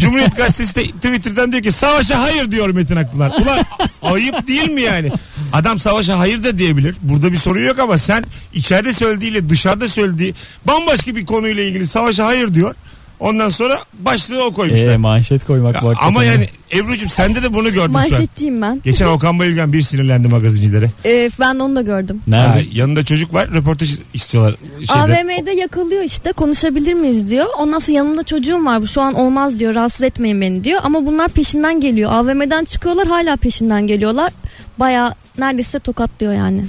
Speaker 2: Cumhuriyet Gazetesi de Twitter'dan diyor ki savaşa hayır diyor Metin Akpınar. Ulan ayıp değil mi yani? Adam savaşa hayır da diyebilir. Burada bir sorun yok ama sen içeride söylediğiyle dışarıda söylediği bambaşka bir konuyla ilgili savaşa hayır diyor. Ondan sonra başlığı o koymuşlar.
Speaker 4: Ee, manşet koymak
Speaker 2: Ya
Speaker 4: var.
Speaker 2: ama yani Ebru'cum sende de bunu gördüm sen.
Speaker 3: Manşetçiyim ben.
Speaker 2: Geçen Okan Bayülgen bir sinirlendi magazincilere.
Speaker 3: Ee, ben onu da gördüm.
Speaker 2: Ha,
Speaker 4: nerede?
Speaker 2: yanında çocuk var röportaj istiyorlar. Şeyde.
Speaker 3: AVM'de yakalıyor işte konuşabilir miyiz diyor. Ondan sonra yanımda çocuğum var bu şu an olmaz diyor rahatsız etmeyin beni diyor. Ama bunlar peşinden geliyor. AVM'den çıkıyorlar hala peşinden geliyorlar. Baya neredeyse tokatlıyor yani.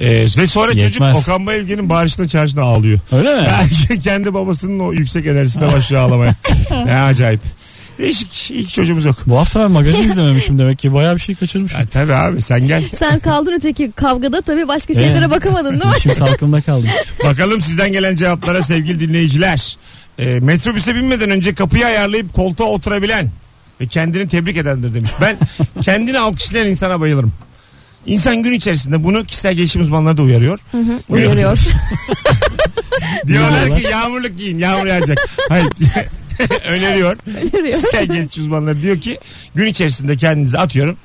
Speaker 2: Ee, ve sonra çocuk
Speaker 4: Yetmez.
Speaker 2: Okan Bayülgen'in bağırışına çarşına ağlıyor. şey
Speaker 4: Öyle mi?
Speaker 2: Kendi babasının o yüksek enerjisine başlıyor ağlamaya. ne acayip. Değişik. İlk çocuğumuz yok.
Speaker 4: Bu hafta ben magazin izlememişim demek ki. Bayağı bir şey kaçırmışım.
Speaker 2: Ha, tabii abi sen gel.
Speaker 3: Sen kaldın öteki kavgada tabii başka
Speaker 4: Ee?
Speaker 3: şeylere bakamadın değil mi?
Speaker 4: İçim salkımda kaldım.
Speaker 2: Bakalım sizden gelen cevaplara sevgili dinleyiciler. Ee, metrobüse binmeden önce kapıyı ayarlayıp koltuğa oturabilen ve kendini tebrik edendir demiş. Ben kendini alkışlayan insana bayılırım. İnsan gün içerisinde bunu kişisel gelişim uzmanları da uyarıyor.
Speaker 3: Hı hı, uyarıyor.
Speaker 2: Diyorlar ki yağmurluk giyin yağmur yağacak. Hayır. Öneriyor.
Speaker 3: uyarıyor.
Speaker 2: Kişisel gelişim uzmanları diyor ki gün içerisinde kendinizi atıyorum.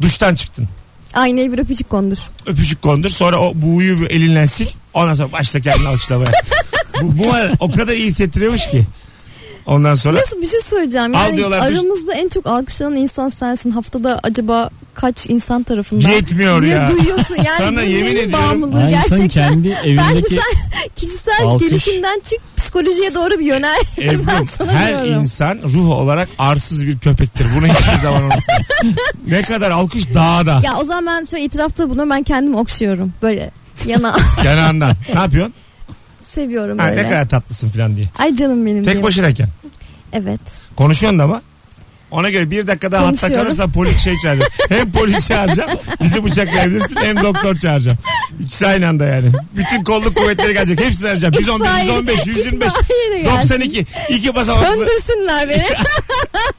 Speaker 2: Duştan çıktın.
Speaker 3: Aynaya bir öpücük kondur.
Speaker 2: öpücük kondur. Sonra o buğuyu bir elinden sil. Ondan sonra başla kendini alkışlamaya. bu, bu var, o kadar iyi hissettiriyormuş ki. Ondan sonra
Speaker 3: Nasıl bir şey söyleyeceğim.
Speaker 2: Al
Speaker 3: Yani
Speaker 2: diyorlar, düş-
Speaker 3: aramızda en çok alkışlanan insan sensin. Haftada acaba kaç insan tarafından?
Speaker 2: yetmiyor
Speaker 3: diye
Speaker 2: ya.
Speaker 3: duyuyorsun yani
Speaker 2: Sana
Speaker 3: bu
Speaker 2: yemin
Speaker 3: neyin
Speaker 2: ediyorum.
Speaker 3: bağımlılığı
Speaker 4: Ay, insan
Speaker 3: gerçekten.
Speaker 4: kendi evindeki
Speaker 3: Kişisel
Speaker 4: Alkış.
Speaker 3: gelişimden çık psikolojiye doğru bir yönel.
Speaker 2: Ebru,
Speaker 3: ben sana
Speaker 2: e, her
Speaker 3: diyorum.
Speaker 2: insan ruh olarak arsız bir köpektir. Bunu hiçbir zaman unutma. ne kadar alkış dağda.
Speaker 3: ya o zaman ben şöyle itirafta buna ben kendim okşuyorum. Böyle yana
Speaker 2: Yanağından. Ne yapıyorsun?
Speaker 3: seviyorum
Speaker 2: Ha,
Speaker 3: böyle.
Speaker 2: ne kadar tatlısın falan diye.
Speaker 3: Ay canım benim
Speaker 2: Tek
Speaker 3: diyorum.
Speaker 2: başınayken.
Speaker 3: Evet.
Speaker 2: Konuşuyorsun da ama. Ona göre bir dakika daha hatta
Speaker 3: Konuşuyorum.
Speaker 2: kalırsan polis şey çağıracağım. hem polis çağıracağım bizi bıçaklayabilirsin hem doktor çağıracağım. İkisi aynı anda yani. Bütün kolluk kuvvetleri gelecek. Hepsini arayacağım. 111,
Speaker 3: İtfaiye-
Speaker 2: 115, 125,
Speaker 3: İtfaiye gelsin.
Speaker 2: 92. İki basamaklı.
Speaker 3: Söndürsünler beni.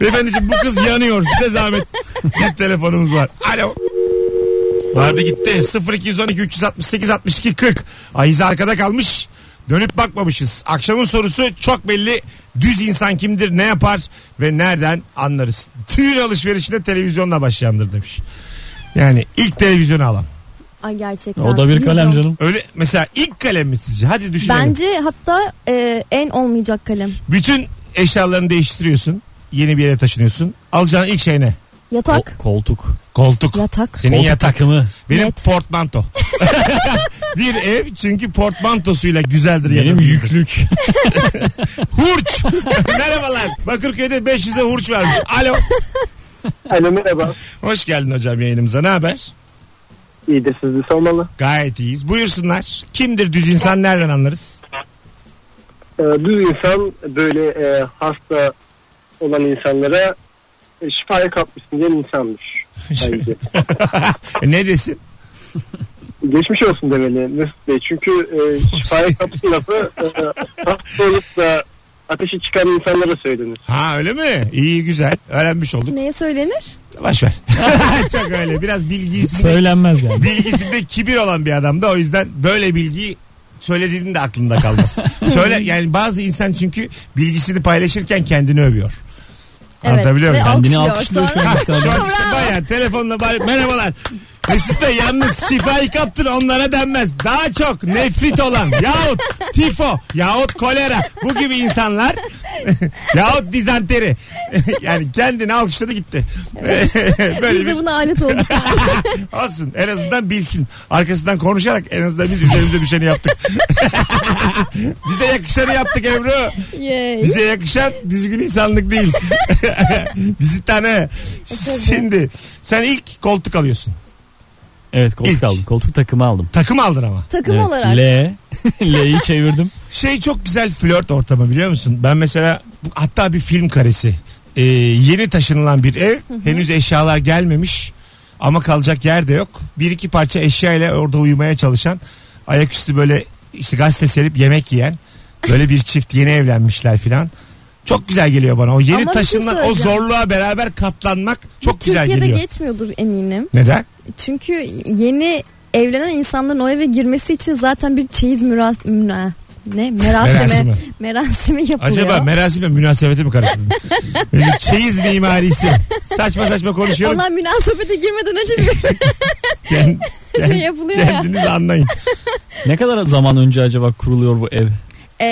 Speaker 2: Beyefendiciğim bu kız yanıyor. Size zahmet. Bir telefonumuz var. Alo. Vardı gitti. 0212 368 62 40. Ayız arkada kalmış. Dönüp bakmamışız. Akşamın sorusu çok belli. Düz insan kimdir, ne yapar ve nereden anlarız? Tüyün alışverişine televizyonla başlayandır demiş. Yani ilk televizyonu alan.
Speaker 3: Ay gerçekten.
Speaker 4: O da bir kalem
Speaker 3: Bilmiyorum.
Speaker 4: canım.
Speaker 2: Öyle mesela ilk kalem mi sizce? Hadi düşünelim.
Speaker 3: Bence hatta e, en olmayacak kalem.
Speaker 2: Bütün eşyalarını değiştiriyorsun. Yeni bir yere taşınıyorsun. Alacağın ilk şey ne?
Speaker 3: Yatak.
Speaker 4: O- koltuk.
Speaker 2: Koltuk.
Speaker 3: Yatak.
Speaker 2: Senin
Speaker 4: Koltuk
Speaker 2: yatak.
Speaker 4: takımı.
Speaker 2: Benim
Speaker 3: Net.
Speaker 2: portmanto. bir ev çünkü portmantosuyla güzeldir
Speaker 4: Benim
Speaker 2: yanım.
Speaker 4: yüklük.
Speaker 2: Hurç. Merhabalar. Bakırköy'de 500'e hurç varmış. Alo.
Speaker 5: Alo merhaba.
Speaker 2: Hoş geldin hocam yayınımıza. Ne haber?
Speaker 5: İyidir sizi sormalı.
Speaker 2: Gayet iyiyiz. Buyursunlar. Kimdir düz insan nereden anlarız?
Speaker 5: Ee, düz insan böyle e, hasta olan insanlara e, şifaya kapmışsın diyen insanmış. Bence.
Speaker 2: E, ne desin?
Speaker 5: Geçmiş olsun demeli Mesut Bey. Çünkü e, şifaya kapısın lafı e, hasta olup da ateşi çıkan insanlara söylenir.
Speaker 2: Ha öyle mi? İyi güzel. Öğrenmiş olduk.
Speaker 3: Neye söylenir?
Speaker 2: Baş ver. Çok öyle. Biraz bilgisinde,
Speaker 4: Söylenmez yani.
Speaker 2: bilgisinde kibir olan bir adam da o yüzden böyle bilgiyi söylediğinin de aklında kalmasın. Söyle yani bazı insan çünkü bilgisini paylaşırken kendini övüyor. Anlatabiliyor muyum?
Speaker 4: Kendini alkışlıyor şu an.
Speaker 3: sonra.
Speaker 4: işte adam.
Speaker 2: Şu an işte bayağı telefonla bari merhabalar. Mesut Bey yalnız şifayı kaptın onlara denmez. Daha çok nefrit olan yahut tifo yahut kolera bu gibi insanlar yahut dizanteri. yani kendini alkışladı gitti. Böyle bir
Speaker 3: Biz de buna alet olduk.
Speaker 2: olsun en azından bilsin. Arkasından konuşarak en azından biz üzerimize düşeni yaptık. Bize yakışanı yaptık Ebru.
Speaker 3: Yay.
Speaker 2: Bize yakışan düzgün insanlık değil. Bizi tane. Şimdi sen ilk koltuk alıyorsun.
Speaker 4: Evet koltuk
Speaker 2: İlk.
Speaker 4: aldım. Koltuk takımı aldım.
Speaker 2: Takım aldın ama.
Speaker 3: Takım
Speaker 4: Evet,
Speaker 3: olarak.
Speaker 4: L. L'yi çevirdim.
Speaker 2: Şey çok güzel flört ortamı biliyor musun? Ben mesela bu- hatta bir film karesi. Ee, yeni taşınılan bir ev. Henüz eşyalar gelmemiş. Ama kalacak yer de yok. Bir iki parça eşyayla orada uyumaya çalışan. Ayaküstü böyle işte gazete serip yemek yiyen. Böyle bir çift yeni evlenmişler filan. Çok güzel geliyor bana. O yeni
Speaker 3: Ama bir şey
Speaker 2: taşınılan o
Speaker 3: söyleyeceğim.
Speaker 2: zorluğa beraber katlanmak çok güzel
Speaker 3: Türkiye'de
Speaker 2: geliyor.
Speaker 3: geçmiyordur eminim.
Speaker 2: Neden?
Speaker 3: Çünkü yeni evlenen insanların o eve girmesi için zaten bir çeyiz müras... müra- ne merasime merasimi,
Speaker 2: Merasimi.
Speaker 3: yapılıyor.
Speaker 2: Acaba merasime münasebeti mi karıştırdın? Böyle Çeyiz mimarisi. Saçma saçma konuşuyorum.
Speaker 3: Allah münasebete girmeden önce bir
Speaker 2: Kend-
Speaker 3: şey yapılıyor ya.
Speaker 2: kendiniz anlayın.
Speaker 4: Ne kadar zaman önce acaba kuruluyor bu ev?
Speaker 3: Ee,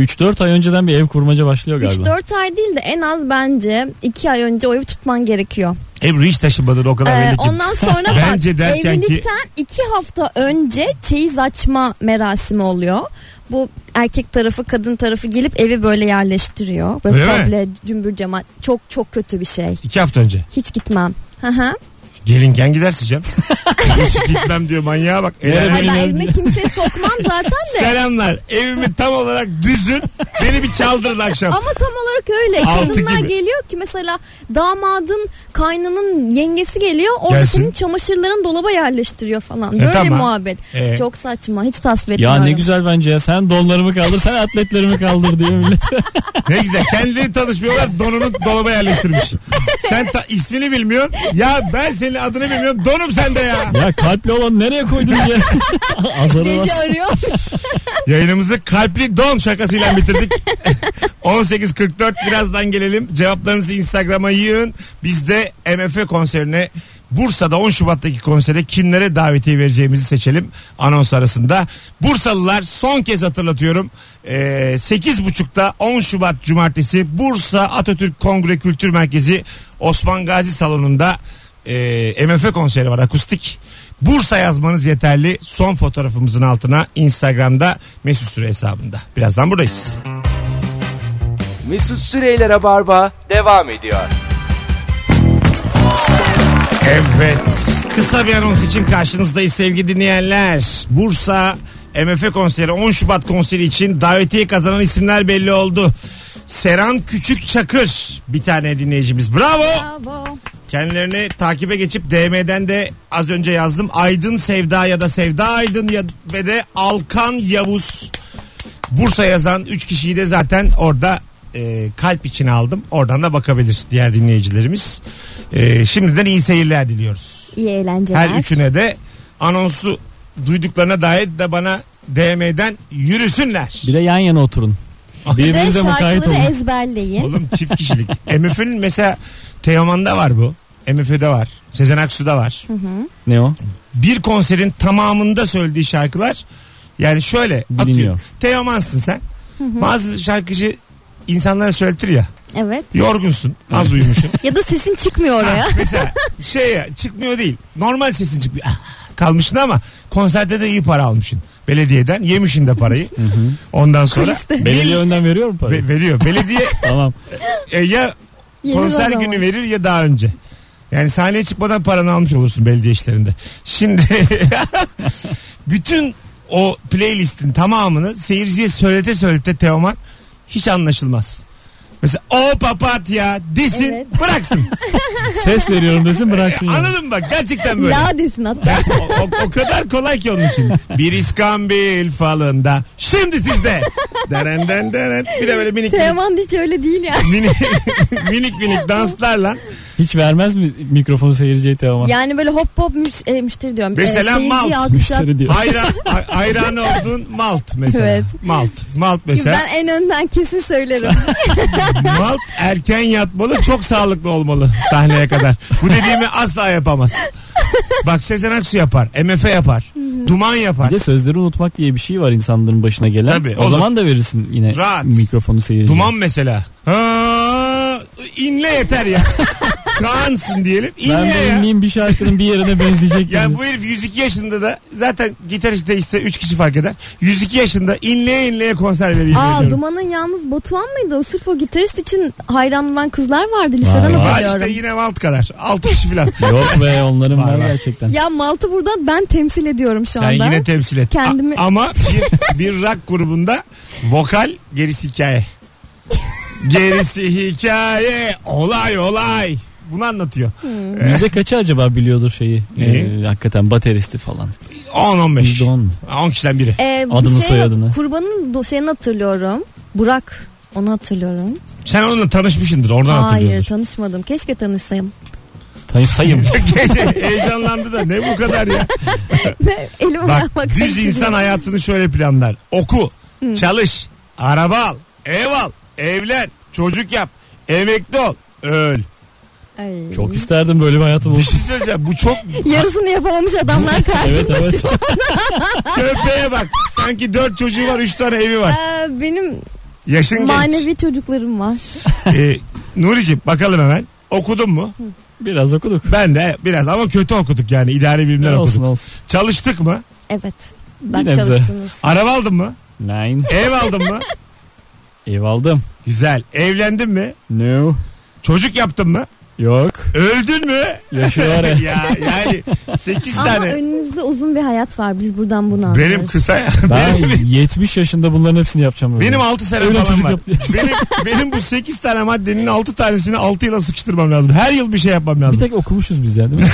Speaker 4: 3-4 ay önceden bir ev kurmaca başlıyor galiba.
Speaker 3: 3-4 ay değil de en az bence 2 ay önce o evi tutman gerekiyor.
Speaker 2: Ebru hiç taşınmadan o kadar
Speaker 3: Ee,
Speaker 2: belli ki.
Speaker 3: ondan sonra
Speaker 2: Bence
Speaker 3: bak
Speaker 2: derken ki-
Speaker 3: evlilikten 2 hafta önce çeyiz açma merasimi oluyor. Bu erkek tarafı kadın tarafı gelip evi böyle yerleştiriyor. Böyle
Speaker 2: Öyle mi?
Speaker 3: komple cümbür cemaat. Çok çok kötü bir şey.
Speaker 2: İki hafta önce.
Speaker 3: Hiç gitmem. Hı hı.
Speaker 2: Gelinken gidersin canım. Hiç gitmem diyor manyağa bak. El
Speaker 4: Nereye
Speaker 2: alem.
Speaker 3: Ay ben
Speaker 4: Evleniyorum
Speaker 3: evime kimseyi sokmam zaten de.
Speaker 2: Selamlar. Evimi tam olarak düzün. Beni bir çaldırın akşam.
Speaker 3: Ama tam olarak öyle.
Speaker 2: Altı
Speaker 3: Kadınlar
Speaker 2: gibi.
Speaker 3: geliyor ki mesela damadın kaynanın yengesi geliyor. Orada
Speaker 2: Gelsin.
Speaker 3: senin çamaşırların dolaba yerleştiriyor falan.
Speaker 2: E,
Speaker 3: Böyle
Speaker 2: tamam.
Speaker 3: muhabbet.
Speaker 2: E.
Speaker 3: Çok saçma. Hiç tasvip
Speaker 4: Ya
Speaker 3: etmiyorum.
Speaker 4: ne güzel bence ya. Sen donlarımı kaldır, sen atletlerimi kaldır diyor millet.
Speaker 2: Ne güzel. Kendileri tanışmıyorlar. Donunu dolaba yerleştirmiş. Sen ta- ismini bilmiyorsun. Ya ben senin adını bilmiyorum. Donum sende ya.
Speaker 4: ya kalpli olan nereye koydun ya? Azarı
Speaker 3: Gece
Speaker 4: bas.
Speaker 3: arıyor.
Speaker 2: Yayınımızı kalpli don şakasıyla bitirdik. 18.44 birazdan gelelim. Cevaplarınızı Instagram'a yığın. Biz de MF konserine Bursa'da 10 Şubat'taki konsere kimlere davetiye vereceğimizi seçelim anons arasında. Bursalılar son kez hatırlatıyorum. Ee, 8.30'da 10 Şubat Cumartesi Bursa Atatürk Kongre Kültür Merkezi Osman Gazi Salonu'nda e, MF konseri var akustik. Bursa yazmanız yeterli. Son fotoğrafımızın altına Instagram'da Mesut Süre hesabında. Birazdan buradayız.
Speaker 1: Mesut Süreyler'e barba devam ediyor.
Speaker 2: Evet. Kısa bir anons için karşınızdayız sevgili dinleyenler. Bursa MF konseri 10 Şubat konseri için davetiye kazanan isimler belli oldu. Seran Küçük Çakır bir tane dinleyicimiz. Bravo.
Speaker 3: Bravo.
Speaker 2: Kendilerini takibe geçip DM'den de az önce yazdım. Aydın Sevda ya da Sevda Aydın ya ve de Alkan Yavuz. Bursa yazan 3 kişiyi de zaten orada e, kalp içine aldım. Oradan da bakabilir diğer dinleyicilerimiz. E, şimdiden iyi seyirler diliyoruz.
Speaker 3: İyi eğlenceler.
Speaker 2: Her üçüne de anonsu duyduklarına dair de bana DM'den yürüsünler.
Speaker 4: Bir de yan yana oturun.
Speaker 3: Bir de
Speaker 4: Birbirinize mukayyet
Speaker 3: şarkıları
Speaker 4: olun.
Speaker 3: ezberleyin.
Speaker 2: Oğlum çift kişilik. MF'nin mesela Teoman'da var bu. MF'de var. Sezen Aksu'da var.
Speaker 4: Ne o?
Speaker 2: bir konserin tamamında söylediği şarkılar yani şöyle
Speaker 4: Biliniyor.
Speaker 2: atıyorum. Teoman'sın sen. Bazı şarkıcı insanlara söyletir ya.
Speaker 3: Evet.
Speaker 2: Yorgunsun, az uyumuşsun.
Speaker 3: Ya da sesin çıkmıyor oraya.
Speaker 2: Mesela şey ya, çıkmıyor değil. Normal sesin çıkmıyor. Ah, Kalmışsın ama konserde de iyi para almışsın. Belediyeden yemişin de parayı. Ondan sonra
Speaker 3: Kuliste.
Speaker 4: Belediye
Speaker 2: belediye
Speaker 4: önden veriyor mu parayı?
Speaker 2: Ve- veriyor. Belediye
Speaker 4: tamam.
Speaker 2: e, ya
Speaker 3: Yeni
Speaker 2: konser
Speaker 3: bana
Speaker 2: günü
Speaker 3: bak.
Speaker 2: verir ya daha önce. Yani sahneye çıkmadan paranı almış olursun belediye işlerinde. Şimdi bütün o playlistin tamamını seyirciye söylete söylete Teoman hiç anlaşılmaz. Mesela o papatya desin
Speaker 3: Evet.
Speaker 2: bıraksın. E,
Speaker 4: Ses veriyorum desin bıraksın. yani.
Speaker 2: Anladın mı bak gerçekten böyle.
Speaker 3: La desin hatta.
Speaker 2: Ya, o, o- o kadar kolay ki onun için. Bir iskambil falında. Şimdi sizde. Deren deren deren. Bir de böyle minik minik,
Speaker 3: Teoman hiç öyle değil ya.
Speaker 2: minik, minik, minik danslarla.
Speaker 4: Hiç vermez mi mikrofonu seyirciye Teoman?
Speaker 3: Yani böyle hop hop müş, e, müşteri diyorum.
Speaker 2: Mesela
Speaker 3: seyirciyi
Speaker 2: mal.
Speaker 3: alkışlat-
Speaker 4: Müşteri diyor.
Speaker 2: Hayran, hay- hayranı olduğun malt mesela.
Speaker 3: Evet.
Speaker 2: Malt. Malt mesela.
Speaker 3: Ben en önden kesin söylerim.
Speaker 2: malt erken yatmalı çok sağlıklı olmalı sahneye kadar. Bu dediğimi asla yapamaz. Bak Sezen Aksu yapar. MF yapar. Duman yapar.
Speaker 4: Bir de sözleri unutmak diye bir şey var insanların başına gelen.
Speaker 2: Tabii,
Speaker 4: o
Speaker 2: olur.
Speaker 4: zaman da verirsin yine
Speaker 2: Rahat.
Speaker 4: mikrofonu seyirciye.
Speaker 2: Duman mesela. Ha, inle yeter ya. Kaan'sın diyelim. İnle
Speaker 4: Ben
Speaker 2: ya.
Speaker 4: de inleyeyim bir şarkının bir yerine benzeyecek.
Speaker 2: Ya
Speaker 4: yani.
Speaker 2: bu herif 102 yaşında da zaten gitarist değilse 3 kişi fark eder. 102 yaşında inleye inleye konser veriyor.
Speaker 3: Aa Duman'ın yalnız Batuhan mıydı? O sırf o gitarist için hayran olan kızlar vardı liseden
Speaker 4: Vay.
Speaker 2: Var
Speaker 3: hatırlıyorum.
Speaker 2: işte yine malt kadar. 6 kişi falan.
Speaker 4: Yok be onların
Speaker 2: Var,
Speaker 4: var,
Speaker 2: var.
Speaker 4: gerçekten.
Speaker 3: Ya Malt'ı buradan ben temsil ediyorum şu
Speaker 2: Sen
Speaker 3: anda.
Speaker 2: yine temsil et.
Speaker 3: Kendimi-
Speaker 2: A- ama bir, bir rock grubunda vokal gerisi hikaye. Gerisi hikaye. Olay olay. Bunu anlatıyor.
Speaker 4: Yüzde kaçı acaba biliyordur şeyi?
Speaker 2: Neyi?
Speaker 4: Ee, hakikaten bateristi falan.
Speaker 2: 10-15.
Speaker 4: Yüzde on mu?
Speaker 2: 10 kişiden biri.
Speaker 3: Ee, bir
Speaker 4: Adını,
Speaker 3: şey-
Speaker 4: soyadını.
Speaker 3: Kurbanın do- şeyini hatırlıyorum. Burak onu hatırlıyorum.
Speaker 2: Sen onunla tanışmışsındır. Oradan
Speaker 3: Hayır
Speaker 2: hatırlıyordur.
Speaker 3: tanışmadım. Keşke tanışsayım.
Speaker 4: Tanış sayım.
Speaker 2: Heyecanlandı da ne bu kadar ya.
Speaker 3: Elim ayağıma
Speaker 2: Bak düz
Speaker 3: karıştı.
Speaker 2: insan hayatını şöyle planlar. Oku. Çalış. Araba al. Ev al. Evlen. Çocuk yap. Emekli ol. Öl.
Speaker 3: Ay.
Speaker 4: Çok isterdim böyle bir hayatım
Speaker 2: Bir
Speaker 4: olsun.
Speaker 2: şey söyleyeceğim. Bu çok
Speaker 3: Yarısını yapamamış adamlar
Speaker 4: evet
Speaker 3: karşımda
Speaker 4: evet.
Speaker 2: köpeğe bak. Sanki dört çocuğu var, üç tane evi var.
Speaker 3: Ee, benim
Speaker 2: Yaşın
Speaker 3: manevi
Speaker 2: genç.
Speaker 3: çocuklarım var.
Speaker 2: Ee, Nuri'cim bakalım hemen. Okudun mu?
Speaker 4: Biraz okuduk.
Speaker 2: Ben de biraz ama kötü okuduk yani. İdari bilimler okuduk.
Speaker 4: olsun olsun.
Speaker 2: Çalıştık mı?
Speaker 3: Evet. Bak
Speaker 4: nebze.
Speaker 3: çalıştınız.
Speaker 2: Araba aldın mı?
Speaker 4: Nine.
Speaker 2: Ev aldın mı?
Speaker 4: Ev aldım.
Speaker 2: Güzel. Evlendin mi?
Speaker 4: No.
Speaker 2: Çocuk yaptın mı?
Speaker 4: Yok.
Speaker 2: Öldün mü?
Speaker 4: Yaşıyor.
Speaker 2: ya yani 8
Speaker 3: Ama
Speaker 2: tane.
Speaker 3: önünüzde uzun bir hayat var. Biz buradan bunu anlıyoruz.
Speaker 2: Benim kısa
Speaker 4: Ben
Speaker 2: benim,
Speaker 4: 70 yaşında bunların hepsini yapacağım. böyle.
Speaker 2: benim 6 sene
Speaker 4: Öyle
Speaker 2: falan
Speaker 4: çocuk
Speaker 2: var.
Speaker 4: yap-
Speaker 2: benim, benim bu 8 tane maddenin 6 tanesini 6 yıla sıkıştırmam lazım. Her yıl bir şey yapmam
Speaker 4: Bir
Speaker 2: lazım.
Speaker 4: tek okumuşuz biz ya değil mi?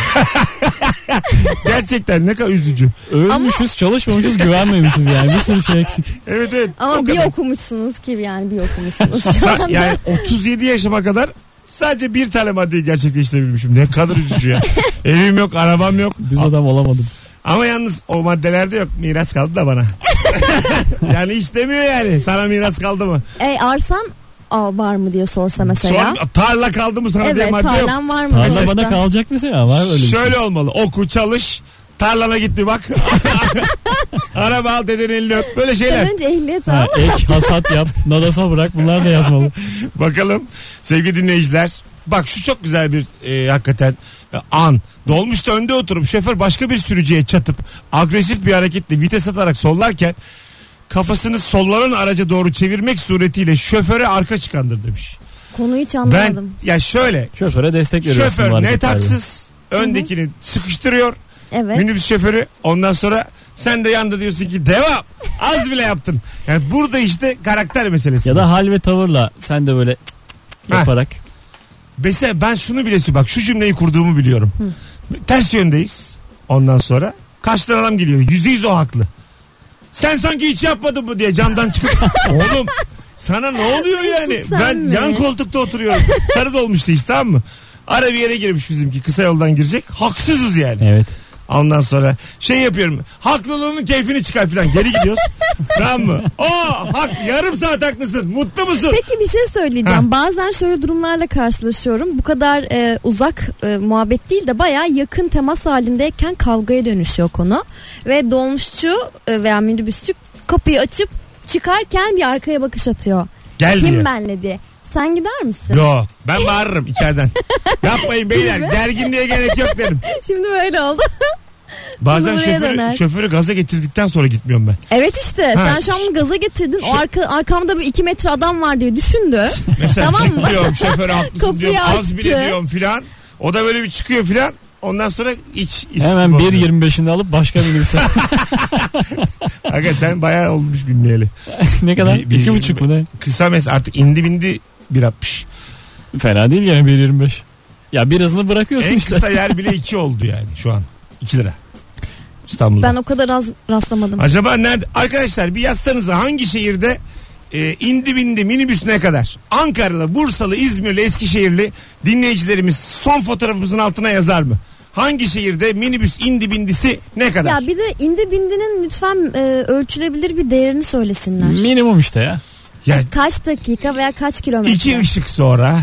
Speaker 2: Gerçekten ne kadar üzücü.
Speaker 4: Ölmüşüz, çalışmamışız, güvenmemişiz yani. Bir sürü şey eksik.
Speaker 2: Evet evet.
Speaker 3: Ama
Speaker 2: O
Speaker 3: bir
Speaker 2: kadar.
Speaker 3: okumuşsunuz ki yani bir okumuşsunuz.
Speaker 2: Sa- yani 37 yaşıma kadar sadece bir tane maddeyi gerçekleştirebilmişim. Ne kadar üzücü ya. Evim yok, arabam yok.
Speaker 4: Düz adam olamadım.
Speaker 2: Ama yalnız o maddelerde yok. Miras kaldı da bana. yani istemiyor yani. Sana miras kaldı mı?
Speaker 3: e, arsan aa, var mı diye sorsa mesela.
Speaker 2: Sor, tarla kaldı mı sana diye
Speaker 3: evet
Speaker 2: madde yok.
Speaker 3: tarlan var mı?
Speaker 4: Tarla
Speaker 3: diye
Speaker 4: bana
Speaker 3: sorsa.
Speaker 4: kalacak mesela var öyle bir şey.
Speaker 2: Şöyle olmalı. Oku, çalış. Tarlana git bir bak. Araba al deden elini öp. Böyle
Speaker 3: Sen
Speaker 2: şeyler.
Speaker 3: önce ehliyet al.
Speaker 4: Ha, ek hasat yap, nadasa bırak bunlar da yazmalı.
Speaker 2: Bakalım sevgili dinleyiciler. Bak şu çok güzel bir e, hakikaten e, an. Dolmuşta önde oturup şoför başka bir sürücüye çatıp agresif bir hareketle vites atarak sollarken kafasını sollanan araca doğru çevirmek suretiyle şoföre arka çıkandır demiş.
Speaker 3: Konuyu hiç
Speaker 2: Ben
Speaker 3: anlamadım.
Speaker 2: ya şöyle
Speaker 4: Şoföre destek veriyorsun. bu
Speaker 2: şoför ne
Speaker 4: hareketlerle.
Speaker 2: taksız öndekini sıkıştırıyor.
Speaker 3: Evet.
Speaker 2: Minibüs şoförü ondan sonra sen de yanda diyorsun ki devam az bile yaptın. Yani burada işte karakter meselesi.
Speaker 4: Ya da hal ve tavırla sen de böyle cık cık cık
Speaker 2: Ha.
Speaker 4: yaparak.
Speaker 2: Mesela ben şunu bile bak şu cümleyi kurduğumu biliyorum. Ters yöndeyiz ondan sonra. Karşıdan adam geliyor yüzde yüz o haklı. Sen sanki hiç yapmadın mı diye camdan çıkıp oğlum sana ne oluyor yani?
Speaker 3: Mesut sen
Speaker 2: Ben
Speaker 3: mi?
Speaker 2: yan koltukta oturuyorum. Sarı dolmuştu işte tamam mı? Ara bir yere girmiş bizimki kısa yoldan girecek. Haksızız yani.
Speaker 4: Evet.
Speaker 2: Ondan sonra şey yapıyorum. Haklılığının keyfini çıkar filan. Geri gidiyoruz. tamam mı? Aa hak yarım saat haklısın. Mutlu musun?
Speaker 3: Peki bir şey söyleyeceğim. Bazen şöyle durumlarla karşılaşıyorum. Bu kadar e, uzak e, muhabbet değil de baya yakın temas halindeyken kavgaya dönüşüyor konu. Ve dolmuşçu e, veya minibüsçü kapıyı açıp çıkarken bir arkaya bakış atıyor.
Speaker 2: Gel
Speaker 3: Kim
Speaker 2: diye.
Speaker 3: benle diye. Sen gider misin?
Speaker 2: Yo ben bağırırım içeriden. Yapmayın beyler gerginliğe gerek yok derim.
Speaker 3: Şimdi böyle oldu.
Speaker 2: Bazen
Speaker 3: Buraya
Speaker 2: şoförü,
Speaker 3: döner.
Speaker 2: şoförü gaza getirdikten sonra gitmiyorum ben.
Speaker 3: Evet işte
Speaker 2: Ha,
Speaker 3: sen şu an bunu gaza getirdin.
Speaker 2: şu-
Speaker 3: O arka, arkamda bir iki metre adam var diye düşündü.
Speaker 2: Mesela
Speaker 3: Tamam mı?
Speaker 2: diyorum şoföre haklısın
Speaker 3: Kapıyı
Speaker 2: diyorum az
Speaker 3: açtı.
Speaker 2: bile diyorum filan. O da böyle bir çıkıyor filan. Ondan sonra iç. istif
Speaker 4: Hemen
Speaker 2: oluyor.
Speaker 4: 1.25'ini alıp başka minibüse.
Speaker 2: Aga sen bayağı olmuş bilmeyeli.
Speaker 4: ne kadar?
Speaker 2: Bir- bir-
Speaker 4: 2.5 mu ne?
Speaker 2: Kısa mes artık indi bindi 1.60.
Speaker 4: Fena değil yani 1.25. Ya birazını bırakıyorsun
Speaker 2: En
Speaker 4: işte.
Speaker 2: kısa yer bile 2 oldu yani şu an. 2 lira. İstanbul'da.
Speaker 3: Ben o kadar az rastlamadım.
Speaker 2: Acaba nerede? Arkadaşlar bir yazsanıza hangi şehirde e, indi bindi minibüs ne kadar? Ankaralı, Bursalı, İzmirli, Eskişehirli dinleyicilerimiz son fotoğrafımızın altına yazar mı? Hangi şehirde minibüs indi bindisi ne kadar?
Speaker 3: Ya bir de indi bindinin lütfen e, ölçülebilir bir değerini söylesinler.
Speaker 4: Minimum işte ya.
Speaker 2: Ya
Speaker 3: Kaç dakika veya kaç kilometre?
Speaker 2: iki ışık sonra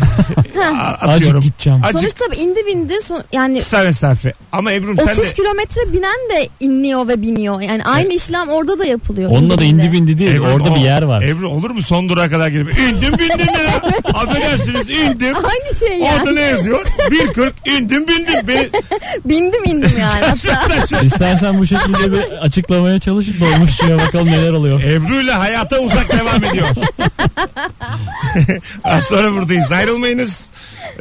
Speaker 2: a- atıyorum.
Speaker 4: Acık gideceğim.
Speaker 2: Acık
Speaker 3: Sonuçta indi bindi son, yani
Speaker 2: kısa mesafe. Ama Ebru'm sen
Speaker 3: 30
Speaker 2: de
Speaker 3: kilometre binen de inliyor ve biniyor. Yani aynı işlem orada da yapılıyor.
Speaker 4: Onunla da indi bindi değil.
Speaker 2: Ebru'm,
Speaker 4: Orada
Speaker 2: o-
Speaker 4: bir yer var.
Speaker 2: Ebru olur mu son durağa kadar girip indim bindim ya. Affedersiniz indim.
Speaker 3: Aynı şey yani.
Speaker 2: Orada ne yazıyor? 1.40 indim bindim. Beni...
Speaker 3: Bindim indim yani. Hatta
Speaker 4: İstersen bu şekilde bir açıklamaya çalışıp dolmuşçuya bakalım neler oluyor.
Speaker 2: Ebru ile hayata uzak devam ediyor. Az sonra buradayız. Ayrılmayınız.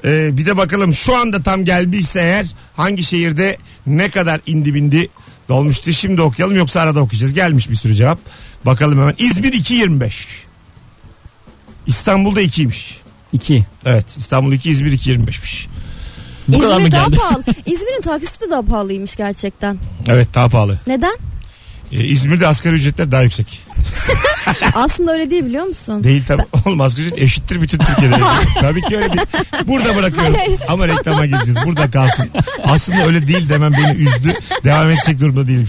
Speaker 2: Ee, bir de bakalım şu anda tam geldiyse eğer hangi şehirde ne kadar indi bindi dolmuştu. Şimdi okuyalım yoksa arada okuyacağız. Gelmiş bir sürü cevap. Bakalım hemen. İzmir 2.25. İstanbul'da 2'ymiş.
Speaker 4: 2.
Speaker 2: Evet İstanbul 2 İzmir 2.25'miş.
Speaker 4: Bu kadar mı
Speaker 3: İzmir daha
Speaker 4: geldi?
Speaker 3: pahalı. İzmir'in taksisi de daha pahalıymış gerçekten.
Speaker 2: Evet daha pahalı.
Speaker 3: Neden?
Speaker 2: Ee, İzmir'de asgari ücretler daha yüksek.
Speaker 3: Aslında öyle değil biliyor musun?
Speaker 2: Değil tabii. Oğlum asgari ücret eşittir bütün Türkiye'de. tabii ki öyle değil. Burada bırakıyorum.
Speaker 3: Hayır.
Speaker 2: Ama reklama gireceğiz. Burada kalsın. Aslında öyle değil demem beni üzdü. Devam edecek durumda değilim.